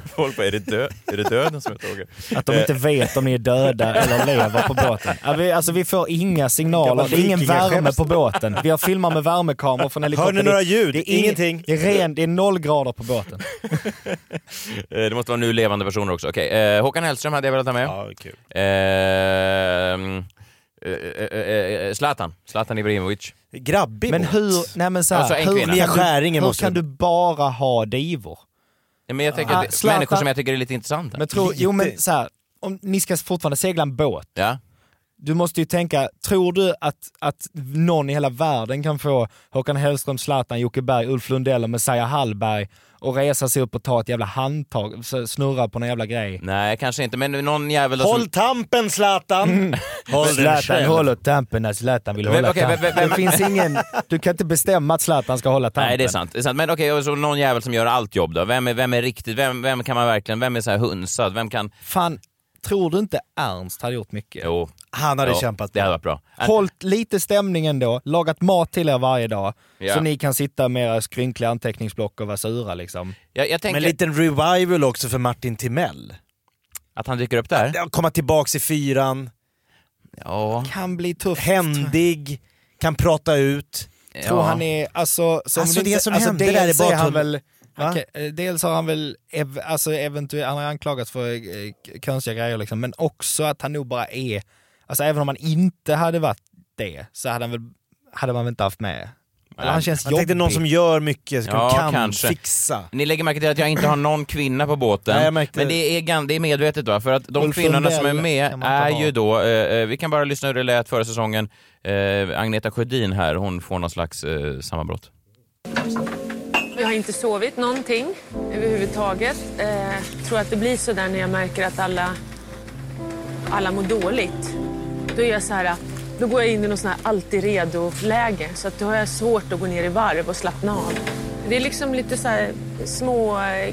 Speaker 4: Folk bara, är det, dö är det döden som jag åker?
Speaker 3: Att de inte
Speaker 5: Eh.
Speaker 3: vet om ni är döda eller lever på båten. Ja, vi, alltså vi får inga signaler, det är ingen värme på båten. Vi har filmat med värmekameror från helikoptern.
Speaker 5: Hör ni några ljud?
Speaker 3: Det är ingen-
Speaker 5: Ingenting.
Speaker 3: Det är, ren, det är noll grader på båten.
Speaker 4: Eh, det måste vara nu levande personer också. Okej, eh, Håkan Hellström hade jag velat ha med.
Speaker 5: Ja, kul.
Speaker 4: Eh, mm, eh, eh, eh, Zlatan. Zlatan Ibrahimovic.
Speaker 5: Grabbig
Speaker 3: Men
Speaker 5: båt.
Speaker 3: hur, nej men så här,
Speaker 4: Alltså, en
Speaker 3: hur,
Speaker 4: kvinna.
Speaker 5: Mia
Speaker 3: kan, du,
Speaker 5: Skäringen
Speaker 3: hur
Speaker 5: måste-
Speaker 3: kan du bara ha divor?
Speaker 4: Ja, men jag tänker
Speaker 3: Ah,
Speaker 4: att det,
Speaker 3: Zlatan.
Speaker 4: människor som jag tycker är lite intressanta.
Speaker 3: Men tro, jo men så här, om ni ska fortfarande segla en båt,
Speaker 4: Ja.
Speaker 3: du måste ju tänka, tror du att, att någon i hela världen kan få Håkan Hellström, Zlatan, Jocke Berg, Ulf Lundell och Messiah Hallberg och resa sig upp och ta ett jävla handtag, s- snurra på någon jävla grej?
Speaker 4: Nej, kanske inte, men någon jävel...
Speaker 3: Håll
Speaker 5: tampen Zlatan!
Speaker 3: Mm.
Speaker 4: Håll den
Speaker 3: Alltså- Zlatan
Speaker 4: själv.
Speaker 3: håller tampen när Zlatan vill
Speaker 4: Vem-
Speaker 3: hålla
Speaker 4: okej,
Speaker 3: tampen.
Speaker 4: vem- vem-
Speaker 3: det finns ingen, du kan inte bestämma att Zlatan ska hålla tampen.
Speaker 4: Nej, det är sant. Det är sant. Men okej, och så någon jävel som gör allt jobb då. Vem är, vem är riktigt, vem, vem kan man verkligen, vem är så här hunsad, vem kan...
Speaker 3: Fan, tror du inte Ernst hade gjort mycket?
Speaker 4: Jo.
Speaker 3: Han hade
Speaker 4: jo,
Speaker 3: kämpat
Speaker 4: Det hade varit bra.
Speaker 3: Hållt lite stämningen då, lagat mat till er varje dag.
Speaker 4: Ja.
Speaker 3: Så ni kan sitta med era skrynkliga anteckningsblock och vara sura liksom.
Speaker 4: Jag, jag tänker
Speaker 5: Men en liten revival också för Martin Timell.
Speaker 4: att han dyker upp där.
Speaker 5: Att Komma tillbaks i fyran,
Speaker 4: Ja.
Speaker 3: Kan bli tufft.
Speaker 5: händig, kan prata ut.
Speaker 3: Tror han är, alltså... Som
Speaker 5: Alltså, det
Speaker 3: inte-
Speaker 5: som
Speaker 3: alltså,
Speaker 5: hände
Speaker 3: dels
Speaker 5: där i
Speaker 3: är han
Speaker 5: badtunnan.
Speaker 3: väl, han kan- eh, Dels har han väl, ev, alltså eventuellt, han har anklagats för eh, k- konstiga grejer liksom, men också att han nog bara är, alltså även om han inte hade varit det, så hade han väl, hade man väl inte haft med. Eller han känns
Speaker 5: Jag
Speaker 3: jobbig.
Speaker 5: tänkte någon som gör mycket, som
Speaker 4: Ja,
Speaker 5: kan
Speaker 4: kanske.
Speaker 5: fixa.
Speaker 4: Ni lägger märke till att jag inte har någon kvinna på båten.
Speaker 5: Nej, jag märkte
Speaker 4: men
Speaker 5: det.
Speaker 4: det är, gan- det är medvetet va? För att de
Speaker 5: Ulf
Speaker 4: kvinnorna som är
Speaker 5: Lundell
Speaker 4: med
Speaker 5: kan man inte
Speaker 4: är
Speaker 5: ha.
Speaker 4: ju då, eh, eh, vi kan bara lyssna hur det lät förra säsongen. Eh, Agneta Sjödin här, hon får någon slags eh, sammanbrott.
Speaker 10: Jag har inte sovit någonting överhuvudtaget. Eh, tror att det blir så där när jag märker att alla, alla mår dåligt. Då är jag så här, då går jag in i någon sån här alltid redo-läge. Så att då har jag svårt att gå ner i varv och slappna av. Det är liksom lite så här små eh,